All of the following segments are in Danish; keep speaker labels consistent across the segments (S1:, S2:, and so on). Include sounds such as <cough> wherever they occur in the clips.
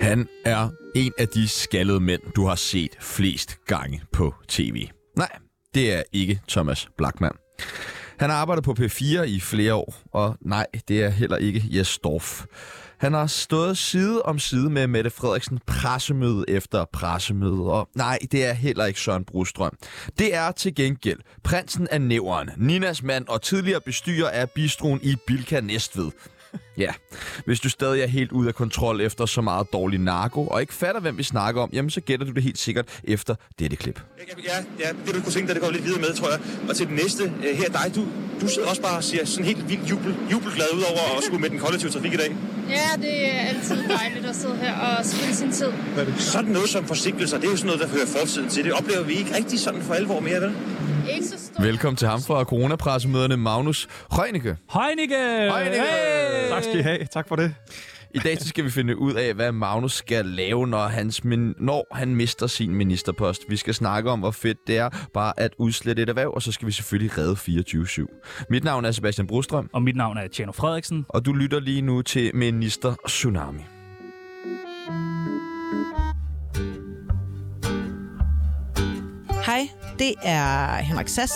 S1: Han er en af de skaldede mænd, du har set flest gange på tv. Nej, det er ikke Thomas Blackman. Han har arbejdet på P4 i flere år, og nej, det er heller ikke Jes Dorf. Han har stået side om side med Mette Frederiksen pressemøde efter pressemøde, og nej, det er heller ikke Søren Brostrøm. Det er til gengæld prinsen af næveren, Ninas mand og tidligere bestyrer af bistroen i Bilka Næstved. Ja, hvis du stadig er helt ude af kontrol efter så meget dårlig narko, og ikke fatter, hvem vi snakker om, jamen så gætter du det helt sikkert efter dette klip.
S2: Ja, ja, det du kunne tænke dig, det går lidt videre med, tror jeg. Og til den næste, øh, her dig, du, du sidder også bare og ser sådan helt vildt jubel, jubelglad ud over at skulle med den kollektive trafik i dag.
S3: Ja, det er altid dejligt at sidde her og spille sin tid.
S2: Sådan noget som forsinkelser, det er jo sådan noget, der hører fortiden til. Det oplever vi ikke rigtig sådan for alvor mere, vel?
S3: Ikke så stort.
S1: Velkommen til ham fra coronapressemøderne, Magnus Rønneke.
S4: Heunicke!
S1: Heunicke!
S4: Hey!
S1: Tak skal I
S4: have. Tak for det.
S1: I dag så skal vi finde ud af, hvad Magnus skal lave, når, hans min- når han mister sin ministerpost. Vi skal snakke om, hvor fedt det er bare at udslette et erhverv, og så skal vi selvfølgelig redde 24-7. Mit navn er Sebastian Brostrøm,
S4: Og mit navn er Tjerno Frederiksen.
S1: og du lytter lige nu til Minister Tsunami.
S5: Hej, det er Henrik Sass.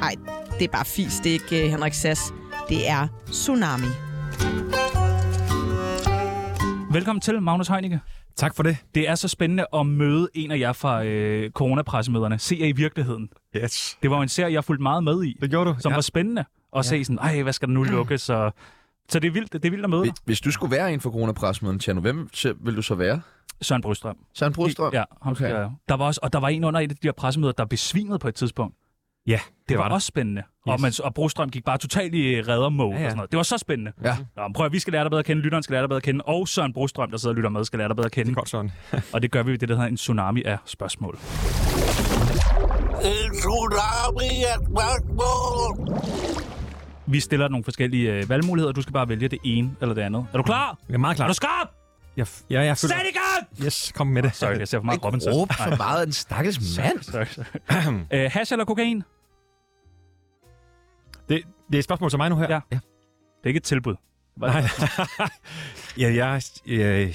S5: Nej, det er bare fis, det er ikke øh, Henrik Sass. Det er Tsunami.
S4: Velkommen til, Magnus Heunicke.
S6: Tak for det.
S4: Det er så spændende at møde en af jer fra øh, coronapressemøderne. Se jer i virkeligheden.
S6: Yes.
S4: Det var jo en serie, jeg fulgte meget med i,
S6: Det gjorde du.
S4: som ja. var spændende at ja. se sådan, ej, hvad skal der nu lukkes? Og... Så det er vildt, det er vildt at møde dig.
S1: Hvis du skulle være en for coronapressemøderne, Tjerno, hvem til- vil du så være?
S4: Søren Brostrøm.
S1: Søren Brostrøm?
S4: Ja, ham okay.
S1: Okay.
S4: jeg. Der var også, og der var en under et af de her pressemøder, der besvimede på et tidspunkt.
S6: Ja,
S4: Det var også spændende. Yes. Og, man, og Brostrøm gik bare totalt i reddermode ja, ja.
S6: Ja, ja.
S4: og sådan noget. Det var så spændende.
S1: Ja.
S4: Nå, men prøv at, vi skal lære dig bedre at kende, lytteren skal lære dig bedre at kende, og Søren Brostrøm, der sidder og lytter med, skal lære dig bedre at kende.
S6: Godt sådan.
S4: Og det gør vi ved det, der hedder en tsunami af spørgsmål.
S7: En tsunami af spørgsmål.
S4: Vi stiller nogle forskellige øh, valgmuligheder, du skal bare vælge det ene eller det andet. Er du klar?
S6: Jeg er meget klar.
S4: Er du skarp?
S6: Jeg, ja, jeg føler...
S4: Sæt i gang!
S6: Yes, kom med det.
S4: Sorry, jeg ser for meget Robinson.
S1: Råb så meget af en stakkels mand.
S4: Sorry, sorry. Øh, hash eller kokain? Det
S6: Det, det er et spørgsmål til mig nu her.
S4: Ja. er ikke et tilbud.
S6: Nej. <laughs> ja, jeg, jeg,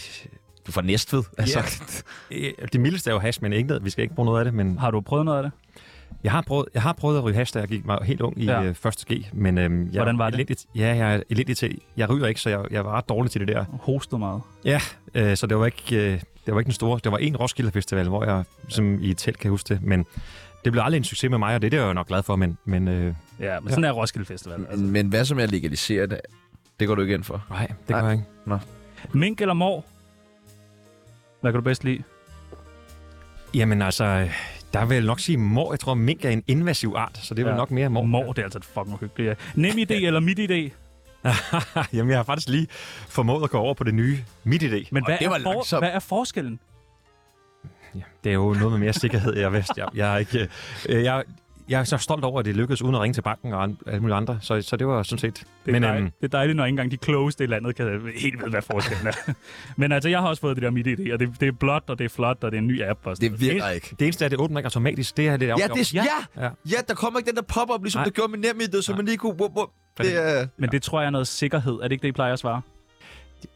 S1: Du er fra Næstved, altså.
S6: jeg, det mildeste er jo hash, men ikke noget. Vi skal ikke bruge noget af det, men
S4: Har du prøvet noget af det?
S6: jeg har prøvet, jeg har prøvet at ryge hash, da jeg gik mig helt ung i
S4: Ja.
S6: ja. første G. Men, øhm, jeg,
S4: Hvordan var det?
S6: Elendigt, ja, jeg er elendig til. Jeg ryger ikke, så jeg, jeg var ret dårlig til det der.
S4: Hostet meget.
S6: Ja, øh, så det var ikke... Øh, det var ikke den store. Det var en Roskilde Festival, hvor jeg som i et telt kan huske det. Men det blev aldrig en succes med mig, og det er det, jeg jo nok glad for. Men, men øh,
S4: Ja, men sådan er Roskilde Festival. Altså.
S1: Men, men hvad som jeg legaliserer det, det går du ikke ind for.
S6: nej, det
S1: Nej.
S6: gør jeg ikke.
S4: Mink eller mor? Hvad kan du bedst lide?
S6: Jamen altså, der vil jeg nok sige mor. Jeg tror, mink er en invasiv art, så det er ja.
S4: Ja.
S6: vel nok mere mor.
S4: Mor, det er altså et fucking uhyggeligt. Ja. Nem idé eller midt idé?
S6: <laughs> Jamen, jeg har faktisk lige formået at gå over på det nye midt idé.
S4: Men hvad,
S1: det var
S4: er for,
S1: langsomt.
S4: hvad er forskellen?
S6: Ja, det er jo noget med mere sikkerhed, jeg vidste. Jeg, jeg, er ikke, øh, jeg, jeg er så stolt over, at det lykkedes uden at ringe til banken og an- alle mulige andre, så, så det var sådan set... øhm,
S4: Det er, Men,
S1: øhm,
S4: dejligt, det er dejligt, når ikke engang de klogeste i landet kan helt vide, hvad
S1: <laughs>
S4: forskellen er. Men altså, jeg har også fået det der midt idé, og det, det er blåt, og det er flot, og det er en ny app. Og sådan
S1: Det
S4: noget.
S1: virker ikke.
S6: det eneste er, at det åbner ikke automatisk. Det er lidt
S1: Ja, det, ja. Ja.
S6: Ja.
S1: ja, der kommer ikke den der pop-up, ligesom
S6: Nej.
S1: det gjorde med nemid, så man lige kunne... Wup, wup. Det, er...
S4: Men det tror jeg er noget sikkerhed. Er det ikke det, I plejer at svare?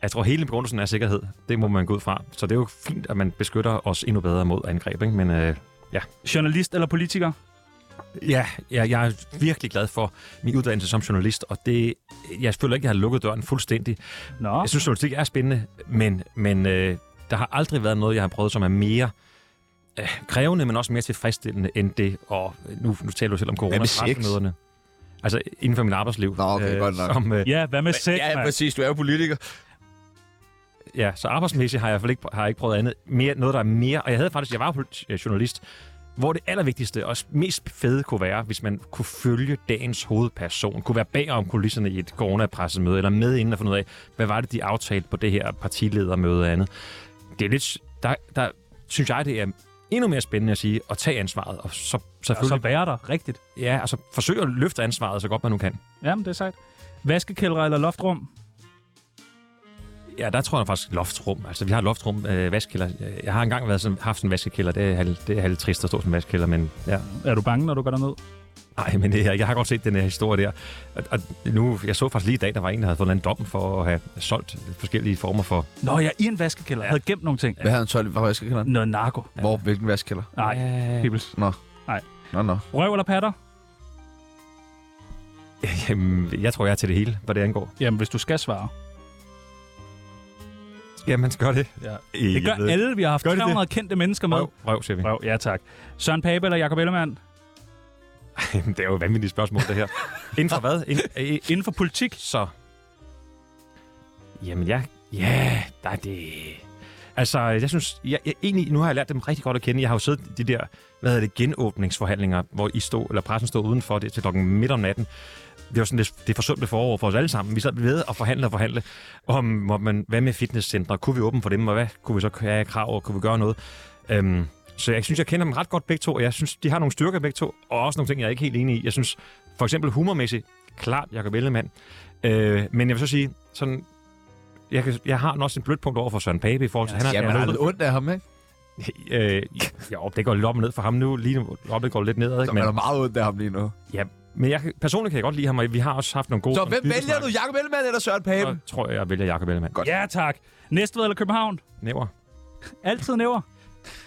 S6: Jeg tror, hele begrundelsen er sikkerhed. Det må man gå ud fra. Så det er jo fint, at man beskytter os endnu bedre mod angreb, ikke? Men øh,
S4: Journalist eller politiker?
S6: Ja, jeg, jeg er virkelig glad for min uddannelse som journalist, og det, jeg føler ikke, jeg har lukket døren fuldstændig.
S4: Nå,
S6: Jeg synes, journalistik er spændende, men, men øh, der har aldrig været noget, jeg har prøvet, som er mere øh, krævende, men også mere tilfredsstillende end det. Og nu, nu taler du selv om corona
S1: med sex?
S6: pressemøderne. Altså inden for mit arbejdsliv.
S1: Nå, okay, godt nok.
S6: Som, øh,
S4: ja, hvad med sex,
S1: ja,
S4: mand?
S1: præcis. Du er jo politiker.
S6: ja, så arbejdsmæssigt har jeg i hvert fald ikke, har jeg ikke prøvet andet. Mere, noget, der er mere. Og jeg havde faktisk, jeg var jo øh, journalist, hvor det allervigtigste og mest fede kunne være, hvis man kunne følge dagens hovedperson, kunne være bag om kulisserne i et coronapressemøde, eller med inden og finde ud af, hvad var det, de aftalte på det her partiledermøde og andet. Det er lidt, der, der synes jeg, det er endnu mere spændende at sige, at tage ansvaret, og så,
S4: Og så
S6: selvfølgelig,
S4: være der, rigtigt.
S6: ja, altså forsøge at løfte ansvaret så godt man nu kan.
S4: Jamen, det er sejt. Vaskekældre eller loftrum?
S6: Ja, der tror jeg faktisk loftrum. Altså, vi har loftrum, øh, vaskekælder. Jeg har engang været sådan, haft en vaskekælder. Det er, halv, det er halv trist at stå som vaskekælder, men ja.
S4: Er du bange, når du går derned?
S6: Nej, men det, her- jeg har godt set den her historie der. Og, og nu, jeg så faktisk lige i dag, der var en, der havde fået en eller anden dom for at have solgt forskellige former for... <laughs>
S4: Nå, jeg er i en vaskekælder. Jeg havde gemt nogle ting.
S1: Hvad havde han solgt? Hvad var vaskekælderen?
S4: Noget narko.
S1: Hvor? Hvilken vaskekælder?
S4: Nej, Pibels.
S1: Nå.
S4: Nej.
S1: Nå, nå.
S4: Røv eller patter?
S6: Jamen, jeg tror, jeg er til det hele, hvad det angår.
S4: Jamen, hvis du skal svare.
S6: Ja, man skal gøre det.
S4: Ja.
S6: Jeg
S4: Det gør
S6: ved
S4: alle. Vi har haft
S6: Gør de det?
S4: 300 kendte mennesker med.
S6: Røv, røv siger vi.
S4: Røv, ja tak. Søren Pape eller Jacob Ellemann?
S6: Jamen, <laughs> det er jo et vanvittigt spørgsmål, det her. Inden for hvad? Ind, øh,
S4: Inden for politik?
S6: så... Jamen, jeg... Ja, der er det... Altså, jeg synes... Jeg, jeg, egentlig, nu har jeg lært dem rigtig godt at kende. Jeg har jo siddet i de der, hvad hedder det, genåbningsforhandlinger, hvor I stod, eller pressen stod udenfor det til klokken midt om natten. Det var sådan lidt det forsømte forår for os alle sammen. Vi sad ved at forhandle og forhandle om, hvor man, hvad med fitnesscentre? Kunne vi åbne for dem, og hvad kunne vi så have af krav, og kunne vi gøre noget? Øhm, så jeg synes, jeg kender dem ret godt begge to, og jeg synes, de har nogle styrker begge to, og også nogle ting, jeg er ikke helt enig i. Jeg synes, for eksempel humormæssigt, klart Jacob Ellemann. Øh, men jeg vil så sige, sådan, jeg, kan, jeg har også en blødt punkt over for Søren Pape i forhold til, ja, han er,
S1: Ja, man
S6: han
S1: har
S6: er
S1: lidt ondt af ham, ikke?
S6: øh, jo, det går lidt op og ned for ham nu. Lige nu op, det går lidt nedad.
S1: Så
S6: Ikke?
S1: man er
S6: Men,
S1: meget ondt af ham lige nu.
S6: ja, men jeg, kan- personligt kan jeg godt lide ham, og vi har også haft nogle gode...
S1: Så
S6: sådan
S1: hvem vælger du?
S6: byggesnakke.
S1: Jakob Ellemann eller Søren Pape?
S6: Så tror jeg, jeg vælger Jacob Ellemann.
S1: Godt.
S4: Ja tak. Næstved eller København?
S6: Næver.
S4: Altid næver.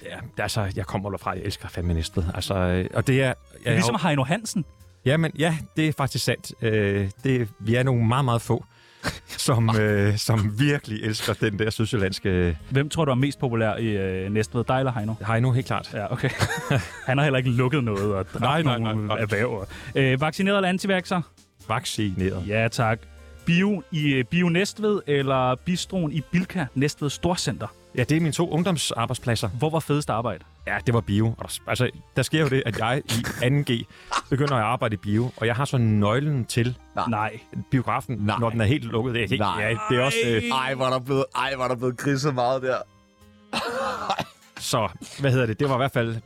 S6: Ja, det er altså, jeg kommer derfra, jeg elsker fandme næstet. Altså, øh, og det er...
S4: Det
S6: Jeg,
S4: er ligesom Heino Hansen.
S6: Ja, men ja, det er faktisk sandt. Øh, det, vi er nogle meget,
S1: <laughs>
S6: meget få, som, øh, som virkelig elsker den der sydsjællandske...
S4: Hvem tror du er mest populær i øh, Næstved? Dig eller Heino?
S6: Hej nu, helt klart.
S4: Ja, okay. <laughs> Han har heller ikke lukket noget og
S6: Nej,
S4: dræbt
S6: nej, nej,
S4: nogle
S6: nej.
S4: erhverv. Øh, vaccineret eller antivaxer?
S6: Vaccineret.
S4: Ja tak. Bio i øh, Bio Næstved eller Bistroen i Bilka Næstved Storcenter?
S6: Ja, det er mine to ungdomsarbejdspladser.
S4: Hvor var fedest arbejde?
S6: Ja, det var bio. Og der, altså, der sker jo det, at jeg i 2G begynder at arbejde i bio, og jeg har så nøglen til
S4: Nej.
S6: biografen,
S1: Nej.
S6: Nej. når den er helt lukket. Det er helt,
S1: Nej.
S6: Ja, det er også... Øh,
S1: Ej, hvor er der blevet, ej, hvor er der blevet griset meget der.
S6: så, hvad hedder det? Det var i hvert fald...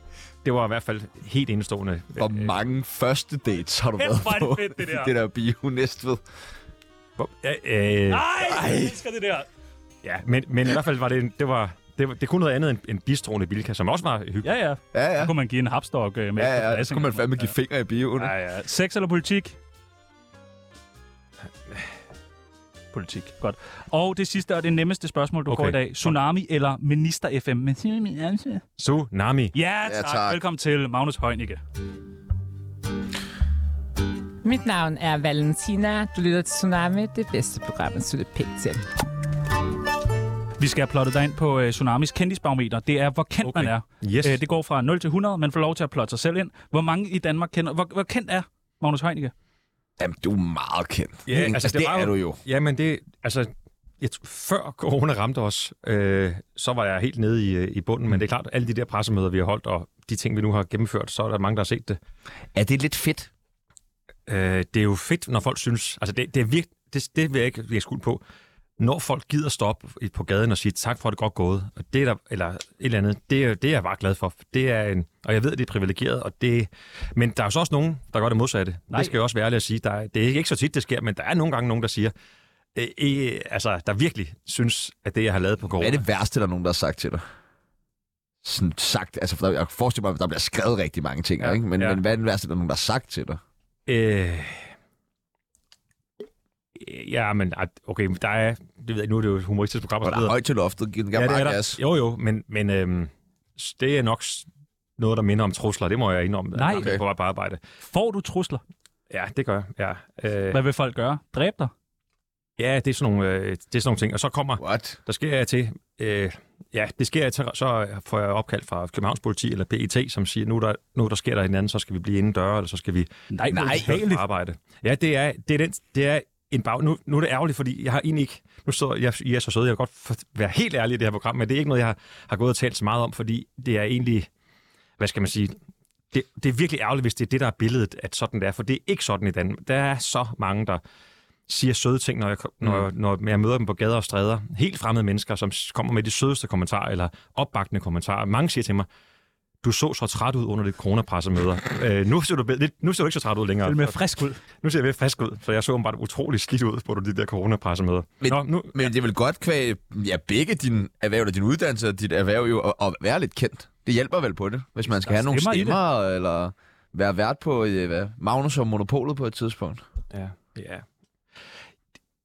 S6: Det var i hvert fald helt Øh, indestående.
S1: Hvor mange første dates har du været
S4: hvor er det
S1: på?
S4: fedt, det der.
S1: <laughs> det der bio næstved.
S6: Hvor- Øh,
S1: Ah!
S6: øh,
S4: Nej, jeg elsker det der.
S6: Ja, men, men i hvert fald var det, en, det var... Det, var, det kunne noget andet end, end bistroen i Bilka, som også var hyggeligt.
S4: Ja, ja.
S1: Ja, ja.
S4: Så kunne man give en hapstok øh, med.
S1: Ja,
S4: ekstra
S1: ja, så
S4: dressing
S1: kunne man
S4: og sådan
S1: fandme
S4: noget.
S1: give fingre i bioen. ikke?
S4: Ja, ja. Sex eller politik? Politik, godt. Og det sidste og det nemmeste spørgsmål, du okay.
S6: Okay.
S4: får i dag. Tsunami eller Minister FM? Men Tsunami er det.
S6: Tsunami.
S4: Ja tak.
S1: Ja,
S4: ja,
S1: tak.
S4: tak. Velkommen til Magnus Heunicke.
S8: Mit navn er Valentina. Du lytter til Tsunami, det bedste program, at slutte pænt til.
S4: Vi skal have plottet dig ind på uh, Tsunamis kendisbarometer. Det er, hvor kendt okay.
S6: Okay.
S4: man er.
S6: Yes.
S4: Uh, det går fra 0 til 100. Man får lov til at plotte sig selv ind. Hvor mange i Danmark kender... Hvor, hvor kendt er Magnus Heunicke?
S1: Jamen, du er meget kendt. Mm.
S6: Ja, altså, det
S1: det,
S6: var
S1: er
S6: jo-
S1: du jo.
S6: Ja, men det... Altså, jeg, tr- før corona ramte os, øh, så var jeg helt nede i, øh, i bunden, men det er klart, alle de der pressemøder, vi har holdt, og de ting, vi nu har gennemført, så er der mange, der har set det.
S1: Er det lidt fedt?
S6: Øh, det er jo fedt, når folk synes... Altså, det, det er virkelig... Det, det vil jeg ikke lægge skuld på. Når folk gider stoppe i- på gaden og sige tak for at det er godt gået, og det er der, eller et eller andet, det er, det er jeg bare glad for. Det er en, og jeg ved, det er privilegeret, og det, men der er jo så også nogen, der gør det modsatte. Nej. Det skal jeg også være ærlig at sige. Der er, det er ikke så tit, det sker, men der er nogle gange nogen, der siger, øh, øh, altså, der virkelig synes, at det, jeg har lavet på corona,
S1: Hvad er det værste, der er nogen, der har sagt til dig? Sådan sagt, altså for der, jeg forestiller mig, at der bliver skrevet rigtig mange ting, ja, ikke? Men, ja.
S6: ja.
S1: men hvad er det værste, der er nogen, der har sagt til dig?
S6: Øh, ja, men ah, okay, men der er, det ved jeg, ikke, nu er det jo et humoristisk program. og
S1: Og
S6: så
S1: der er
S6: videre.
S1: højt til loftet, giv den gerne
S6: det
S1: ja,
S6: er
S1: gas.
S6: Jo, jo, men, men øhm, s- det er nok s- noget, der minder om trusler. Det må jeg indrømme.
S4: Nej.
S6: Okay. På vej på arbejde.
S4: Får du trusler?
S6: Ja, det gør jeg. Ja, øh,
S4: Hvad vil folk gøre? Dræb dig?
S6: ja det, er sådan nogle, øh, det er sådan nogle ting. Og så kommer,
S1: What?
S6: der sker jeg til, øh, ja, det sker jeg til, så får jeg opkald fra Københavns Politi eller PET, som siger, nu der, nu der sker der en anden, så skal vi blive inden døre, eller så skal vi
S4: Nej,
S1: Nej.
S4: hvor
S6: på
S4: ubehageligt.
S6: arbejde. Ja, det er, det er, den, det er en bag... Nu, nu er det ærgerligt, fordi jeg har egentlig ikke... Nu sidder jeg, I er så søde, jeg vil godt for, være helt ærlig i det her program, men det er ikke noget, jeg har, har gået og talt så meget om, fordi det er egentlig... Hvad skal man sige? Det, det er virkelig ærgerligt, hvis det er det, der er billedet, at sådan det er, for det er ikke sådan i Danmark. Der er så mange, der siger søde ting, når jeg, kom- når,
S4: Mm.
S6: når jeg møder dem på gader og stræder. Helt fremmede mennesker, som s- kommer med de sødeste kommentarer eller opbakende kommentarer. Mange siger til mig, du så så træt ud under dit coronapressemøder.
S4: <laughs>
S6: øh, nu, ser du, be- lidt- nu ser du ikke så træt ud længere.
S4: Vil med frisk ud.
S6: Nu ser jeg mere frisk ud, for jeg så åbenbart utrolig skidt ud på de der coronapressemøder.
S1: Men-
S6: Nå, nu,
S1: Men det er vel godt kvæg, ja, begge dine erhverv, eller din uddannelse og dit erhverv jo, at, at være lidt kendt. Det hjælper vel på det, hvis man skal
S4: Der er
S1: have nogle
S4: stemmer i det.
S1: stemmer, eller være vært på øh, hvad? Magnus og Monopolet på et tidspunkt.
S6: Ja. ja.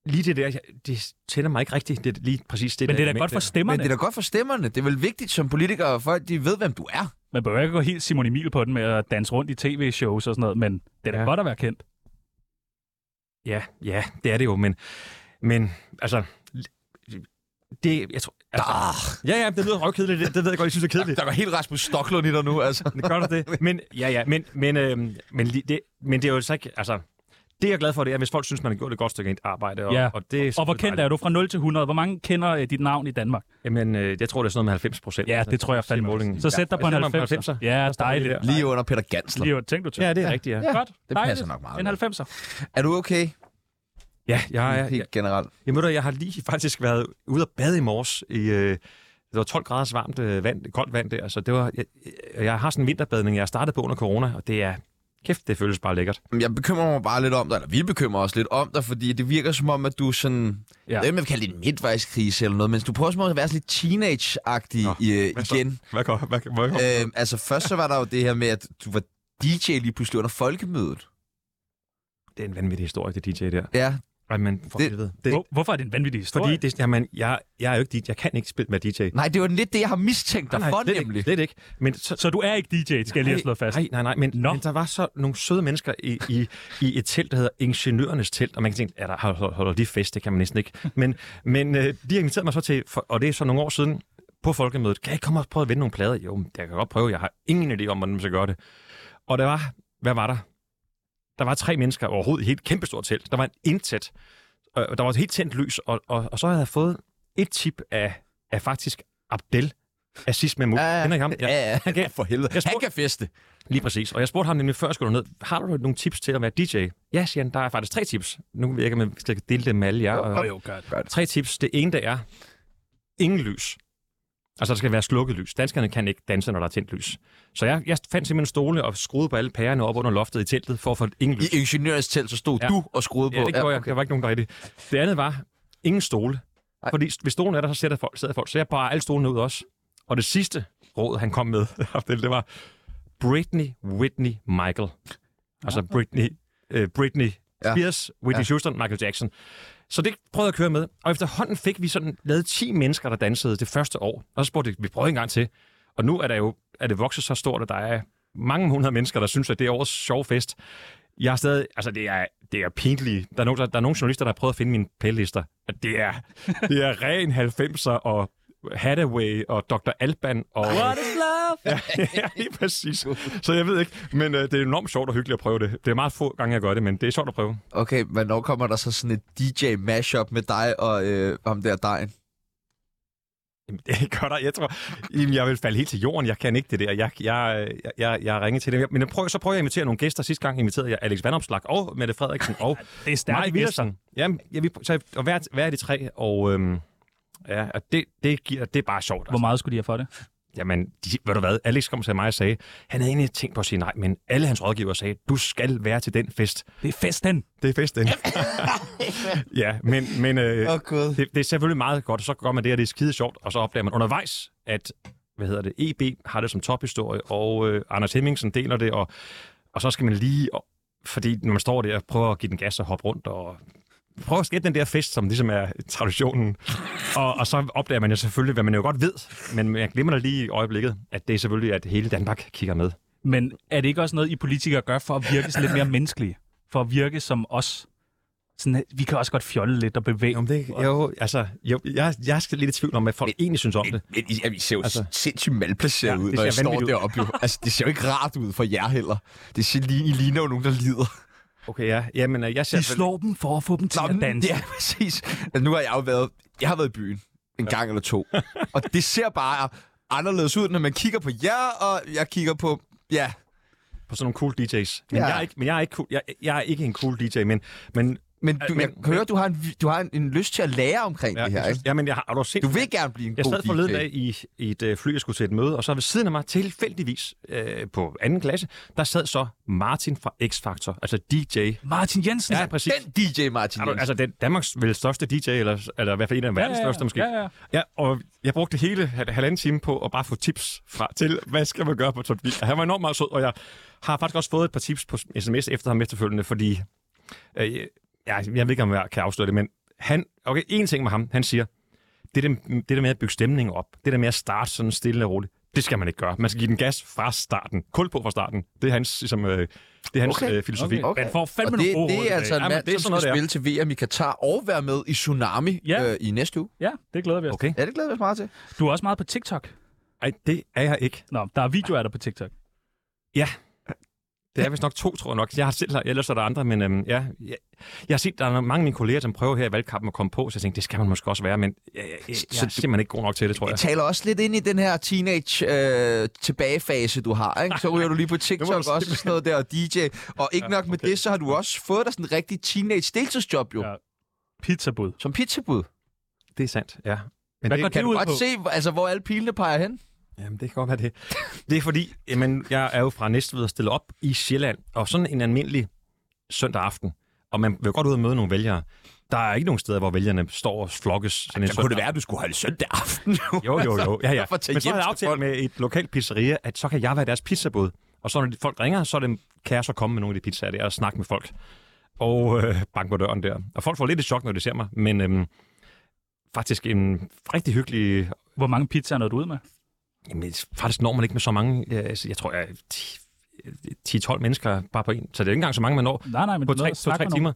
S6: Lige det der, jeg, det tænder mig ikke rigtigt, det, er lige præcis det
S4: Men
S6: der
S4: det er da
S6: element
S4: godt for
S6: der.
S1: Men
S4: stemmerne.
S1: det er da godt for stemmerne. Det er vel vigtigt som politikere, at folk de ved, hvem du er.
S4: Man behøver ikke gå helt Simon Emil på den med at danse rundt i tv-shows og sådan noget, men det er da
S6: Ja.
S4: ja. godt at være kendt.
S6: Ja, ja, det er det jo, men, men altså, det, jeg tror, altså,
S4: Ah.
S6: ja, ja, det lyder røvkedeligt, det, det ved jeg godt, jeg synes er kedeligt.
S1: Der går helt Rasmus Stocklund i dig nu,
S6: <laughs>
S1: altså.
S6: Det gør du det. Men, ja, ja, men, men, øh, men, li- det, men det er jo så ikke, altså, det jeg er glad for, det er, hvis folk synes, man har gjort et godt stykke arbejde. Og,
S4: Ja.
S6: og, det er
S4: Og hvor kendt er du fra 0 til 100? Hvor mange kender øh, dit navn i Danmark?
S6: Jamen, øh, jeg tror, det er sådan noget med 90 procent. Altså,
S4: Ja, det tror jeg fandme. også. Så sæt dig på en 90. Ja, dejligt.
S6: der.
S1: Lige under Peter Gansler.
S4: Lige tænk du til.
S6: Ja, det er rigtigt, ja.
S4: Ja, godt.
S1: det
S4: Dejligt.
S1: passer nok meget
S4: En
S1: godt.
S4: 90'er.
S1: Er du okay?
S6: Ja, jeg, er-
S1: Helt generelt.
S6: Jamen, ved du, jeg har lige faktisk været ude at bade i morges i... Øh, det var 12 graders varmt øh, vand, koldt vand der, så det var, jeg, jeg har sådan en vinterbadning, jeg har startet på under corona, og det er, kæft, det føles bare lækkert.
S1: Jamen, Jeg bekymrer mig bare lidt om dig, eller vi bekymrer os lidt om dig, fordi det virker som om, at du er sådan... Ja.
S4: Ja.
S1: Det er, man vil kalde det en midtvejskrise eller noget, men du prøver som om at være sådan lidt teenage-agtig
S6: Nå,
S1: Nå, øh, igen.
S6: Hvad går, hvad, hvad går?
S1: Øh, <laughs> altså, først så var der jo det her med, at du var DJ lige pludselig under folkemødet.
S6: Det er en vanvittig historie, det DJ der.
S1: Ja,
S6: Ej, men for
S1: Det-
S6: helvede. det,
S4: Hvor- Hvorfor er det en vanvittig historie?
S6: fordi det, jamen, jeg, jeg er jo ikke DJ, jeg kan ikke spille med DJ.
S1: nej, det var lidt Ah, det, jeg har mistænkt dig for,
S6: slet
S1: nemlig.
S6: Ikke, slet ikke. Men så,
S4: Så du er ikke DJ, skal jeg lige have slået fast.
S6: Nej, nej, nej, men,
S4: Nå.
S6: men der var så nogle søde mennesker i, i, i et telt, der hedder Ingeniørernes Telt, og man kan tænke, er der hold- hold- holder de fest, det kan man næsten ikke. Men, men øh, de inviterede mig så til, for, og det er så nogle år siden, på folkemødet, kan jeg ikke komme og prøve at vinde nogle plader? Jo, men jeg kan godt prøve, jeg har ingen idé om, hvordan man skal gøre det. Og der var, hvad var der? Der var tre mennesker overhovedet i et helt kæmpestort telt. Der var en intet. Øh, der var et helt tændt lys, og, og, og så havde jeg fået et tip af, af faktisk Abdel Aziz Mahmoud.
S1: Ja,
S6: Kender I ham? Ja.
S1: Ja, ja,
S6: Han kan-
S1: for helvede.
S6: Jeg
S1: Han
S6: spurgte-
S1: kan feste.
S6: Lige præcis. Og jeg spurgte ham nemlig før jeg skulle ned, har du nogle tips til at være DJ? Ja, siger han, der er faktisk tre tips. Nu ved jeg ikke, om jeg skal dele dem med alle jer.
S4: Jo,
S6: Og,
S4: jo, godt.
S6: tre tips. Det ene, der er ingen lys. Altså, der skal være slukket lys. Danskerne kan ikke danse, når der er tændt lys. Så jeg, jeg fandt simpelthen en stole og skruede på alle pærerne op under loftet i teltet for at få ingen
S1: I
S6: lys.
S1: ingeniørens telt, så stod
S6: Ja.
S1: ja. du og skruede på.
S6: Ja, det gjorde jeg.
S1: okay.
S6: Der var ikke nogen, der rigtig. Det andet var ingen stole.
S1: Ej.
S6: Fordi hvis stolen er der, så sidder folk. Sidder folk. Så jeg bare alle stolene ud også. Og det sidste råd, han kom med, <laughs> Abdel, det var Britney, Whitney, Michael. Altså Britney, øh, Britney
S1: Ah. Ja.
S6: Spears, Whitney
S1: Ja.
S6: Houston, Michael Jackson. Så det prøvede jeg at køre med. Og efterhånden fik vi sådan lavet 10 mennesker, der dansede det første år. Og så spurgte jeg, vi prøver en gang til. Og nu er, der jo, er det vokset så stort, at der er mange hundrede mennesker, der synes, at det er årets sjov fest. Jeg er stadig, altså det er, det er pinligt. Der er, nogen, der, der er nogle journalister, der har prøvet at finde mine playlister. At Det er, det er ren 90'er og Hathaway og Dr. Alban og... What is love? ja, <laughs> ja, lige præcis. Så jeg ved ikke, men øh, det er enormt sjovt og hyggeligt at prøve det. Det er meget få gange, jeg gør det, men det er sjovt at prøve.
S1: Okay, hvornår kommer der så sådan et DJ-mashup med dig og øh, ham der dejen?
S6: Jamen, det gør der. Jeg tror, jamen, jeg vil falde helt til jorden. Jeg kan ikke det der. Jeg, jeg, jeg, jeg, jeg ringer til dem. Men jeg prøver, så prøver jeg at invitere nogle gæster. Sidste gang inviterede jeg Alex Vandopslag og Mette Frederiksen og
S4: Det er
S6: Maja
S4: stærkt gæster.
S6: Wilson. Jamen, jeg, vi, så, og hver, hver af de tre. Og, øhm, ja, og det, det, giver, det er bare sjovt.
S4: Hvor
S6: Altså.
S4: meget skulle de have for det?
S6: Jamen, de, ved du hvad? Alex kom til mig og sagde, han havde egentlig tænkt på at sige nej, men alle hans rådgivere sagde, du skal være til den fest.
S4: Det er festen.
S6: Det er festen.
S1: <laughs>
S6: ja, men, men øh,
S1: Åh, Gud.
S6: det, det er selvfølgelig meget godt, og så gør man det, og det er skide sjovt, og så opdager man undervejs, at hvad hedder det, EB har det som tophistorie, og øh, Anders Hemmingsen deler det, og, og så skal man lige, og, fordi når man står der, prøver at give den gas og hoppe rundt, og prøver at skætte den der fest, som ligesom er traditionen. Og, og så opdager man jo selvfølgelig, hvad man jo godt ved, men jeg glemmer da lige i øjeblikket, at det er selvfølgelig, at hele Danmark kigger med.
S4: Men er det ikke også noget, I politikere gør for at virke sådan lidt mere menneskelige? For at virke som os? Sådan, at vi kan også godt fjolle lidt og bevæge.
S6: Jamen det, jo, altså, jo, jeg, jeg skal lidt i tvivl om, hvad folk egentlig synes om det.
S1: Men I, jamen, I ser jo
S6: Altså-
S1: altså, sindssygt malplaceret
S6: Ja,
S1: ja, ud,
S6: det ser
S1: når jeg står
S6: vanvittigt ud.
S1: deroppe. Jo. Altså, det ser jo ikke rart ud for jer heller. Det ser lige, I ligner jo nogen, der lider.
S6: Okay, ja. Jamen, jeg ser...
S4: De slår dem for at få dem til at danse.
S1: ja, <laughs> præcis. Altså, nu har jeg jo været, jeg har været i byen en gang eller to. og det ser bare anderledes ud, når man kigger på jer, og jeg kigger på... Ja,
S6: på sådan nogle cool DJ's. Men,
S1: Ja.
S6: ja. jeg, er ikke, men øh, jeg, er ikke cool, jeg, jeg er ikke en cool DJ, men, men,
S1: men, du,
S6: men-
S1: jeg kan høre, du har, en, vi- du har en, en lyst til at lære omkring
S6: Ja,
S1: det her,
S6: jeg
S1: ikke?
S6: synes, ja, men jeg har, har du set...
S1: Du vil gerne blive en
S6: Jeg
S1: god
S6: sad forleden
S1: DJ.
S6: dag i, i et øh, fly, jeg skulle til et møde, og så ved siden af mig, tilfældigvis øh, på anden klasse, der sad så Martin fra X-Factor, altså DJ.
S4: Martin Jensen.
S6: Ja, præcis.
S1: Den DJ, Martin
S6: Er du-
S1: Jensen.
S6: Altså, den Danmarks vel største DJ, eller, eller i hvert fald en af verdens største måske.
S4: Ja, ja.
S6: Ja, og jeg brugte hele hal- halvanden time på at bare få tips fra til, hvad skal man gøre på Top 9. Og Han var enormt meget sød, og jeg har faktisk også fået et par tips på sms efter ham efterfølgende, fordi øh, jeg, jeg ved ikke, om jeg kan afsløre det, men han, okay, en ting med ham, han siger, det der, det der med at bygge stemning op, det der med at starte sådan stille og roligt, det skal man ikke gøre. Man skal give den gas fra starten. Kul på fra starten. Det er hans, ligesom, øh, det er hans
S1: Okay,
S6: øh, filosofi.
S1: okay.
S4: Man får fandme
S1: Og
S4: nogle
S1: det,
S4: gode råd
S1: det
S4: i
S1: er
S4: dag.
S1: altså en
S6: Ja, men
S1: mand,
S6: det er
S1: som
S6: sådan noget,
S1: skal
S6: det er.
S1: spille til VM i Katar og være med i Tsunami
S4: Ja.
S1: øh, i næste uge.
S4: Ja, det glæder vi os. Okay.
S6: Okay.
S1: Ja, det glæder vi os meget til.
S4: Du er også meget på TikTok.
S6: Ej, det er jeg ikke.
S4: Nå, der er videoer af dig på TikTok.
S6: Det er vist nok to, tror jeg nok. Jeg har selv, ellers er der andre, men øhm, ja, jeg, jeg har set, der er mange af mine kolleger, som prøver her i valgkampen at komme på, så jeg tænkte, det skal man måske også være, men jeg, jeg, jeg, jeg er simpelthen ikke god nok til det, tror jeg.
S1: Det taler også lidt ind i den her teenage-tilbagefase, du har. Ikke? Så ryger du lige på TikTok
S6: må du
S1: også og sådan noget der, og DJ. Og ikke nok med det, så har du også fået dig sådan en rigtig teenage-deltidsjob jo,
S4: Ja. Pizzabud.
S1: som pizzabud.
S6: Det er sandt, ja. Men
S4: Hvad
S6: det,
S4: går det
S1: Kan du
S4: ud
S1: godt
S4: på?
S1: se, hvor- altså, hvor alle pilene peger hen?
S6: Jamen, det kan godt være det. Det er fordi, jamen, jeg er jo fra Næstved og stillet op i Sjælland, og sådan en almindelig søndag aften, og man vil godt ud og møde nogle vælgere. Der er ikke nogen steder, hvor vælgerne står og flokkes. Sådan en søndag.
S1: være, at du skulle holde søndag aften. Altså,
S6: Jo, jo, jo. Ja, ja.
S1: Hvorfor tage
S6: Men så
S1: hjem
S6: har jeg
S1: til
S6: aftalt
S1: folk?
S6: med et lokalt pizzeria, at så kan jeg være deres pizzabåd. Og så når de- folk ringer, så er det, kan jeg så komme med nogle af de pizzaer der og snakke med folk. Og øh, banke på døren der. Og folk får lidt et chok, når de ser mig. Men øhm, faktisk en rigtig hyggelig...
S4: Hvor mange pizzaer nåede du ud med?
S6: Jamen, faktisk når man ikke med så mange... Øh, altså, jeg tror, jeg er 10 10-12 mennesker bare på en. Så det er ikke engang så mange, man når
S4: Nej, nej, men
S6: på
S4: du nåede
S6: tre,
S4: at
S6: to,
S4: snakke
S6: tre
S4: med
S6: timer.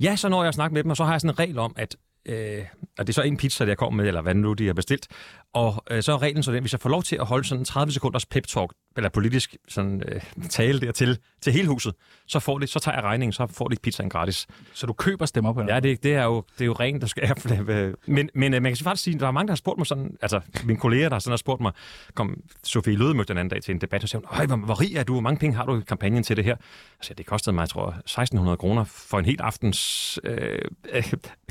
S6: Ja, så når jeg at snakke med dem, og så har jeg sådan en regel om, at øh, og det er så en pizza, jeg kommer med, eller hvad nu de har bestilt. Og øh, så er reglen så den, hvis jeg får lov til at holde sådan en 30 sekunders pep talk, eller politisk sådan, øh, tale dertil, til hele huset, så, får det, så tager jeg regningen, så får de pizzaen gratis.
S4: nogen. Så du køber stemmer på hende?
S6: Ja, det, det, er, jo, det er jo rent, der skal <laughs> jeg Men, men øh, man kan faktisk sige, at der er mange, der har spurgt mig sådan, altså mine kolleger, der sådan har spurgt mig, kom Sofie Lødemøg den anden dag til en debat, og sagde, hun, "Øj, hvor, hvor rig er du, hvor mange penge har du i kampagnen til det her? Altså, det kostede mig, jeg tror, 1600 kroner for en helt aftens øh, <laughs> øh,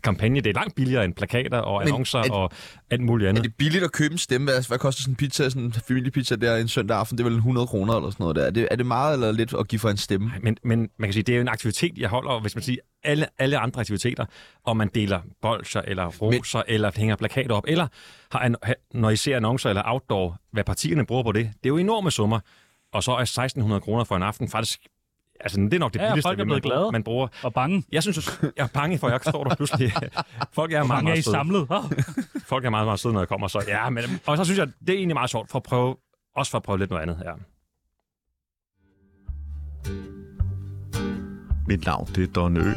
S6: kampagne. Det er langt billigere end plakater og
S1: Men
S6: annoncer
S1: er det-
S6: og alt muligt
S1: Er
S6: andet.
S1: det billigt at købe en stemme? Altså, hvad koster sådan en pizza, sådan en familiepizza der en søndag aften? Det er vel 100 kroner eller sådan noget der. Er det, er det meget eller lidt at give for en stemme?
S6: Men, men man kan sige, det er jo en aktivitet, jeg holder, og hvis man siger alle, alle andre aktiviteter, og man deler bolcher, eller roser, men... eller hænger plakater op, eller har, an- ha- når I ser annoncer eller outdoor, hvad partierne bruger på det, det er jo enorme summer. Og så er 1600 kroner for en aften faktisk, altså det er nok det
S4: Ja, ja,
S6: billigste,
S4: folk er
S6: man,
S4: blevet glade.
S6: man bruger.
S4: Og bange.
S6: Jeg synes, også- jeg er bange for, at jeg står
S4: <laughs>
S6: der pludselig. Folk er meget,
S4: Mange er I
S6: meget søde.
S4: samlet.
S1: <laughs>
S4: Oh,
S6: Folk er meget, meget søde, når jeg kommer. Så, ja, men, og så synes jeg, det er egentlig meget sjovt for at prøve, også for at prøve lidt noget andet. Ja.
S2: Mit navn det er Don Ø.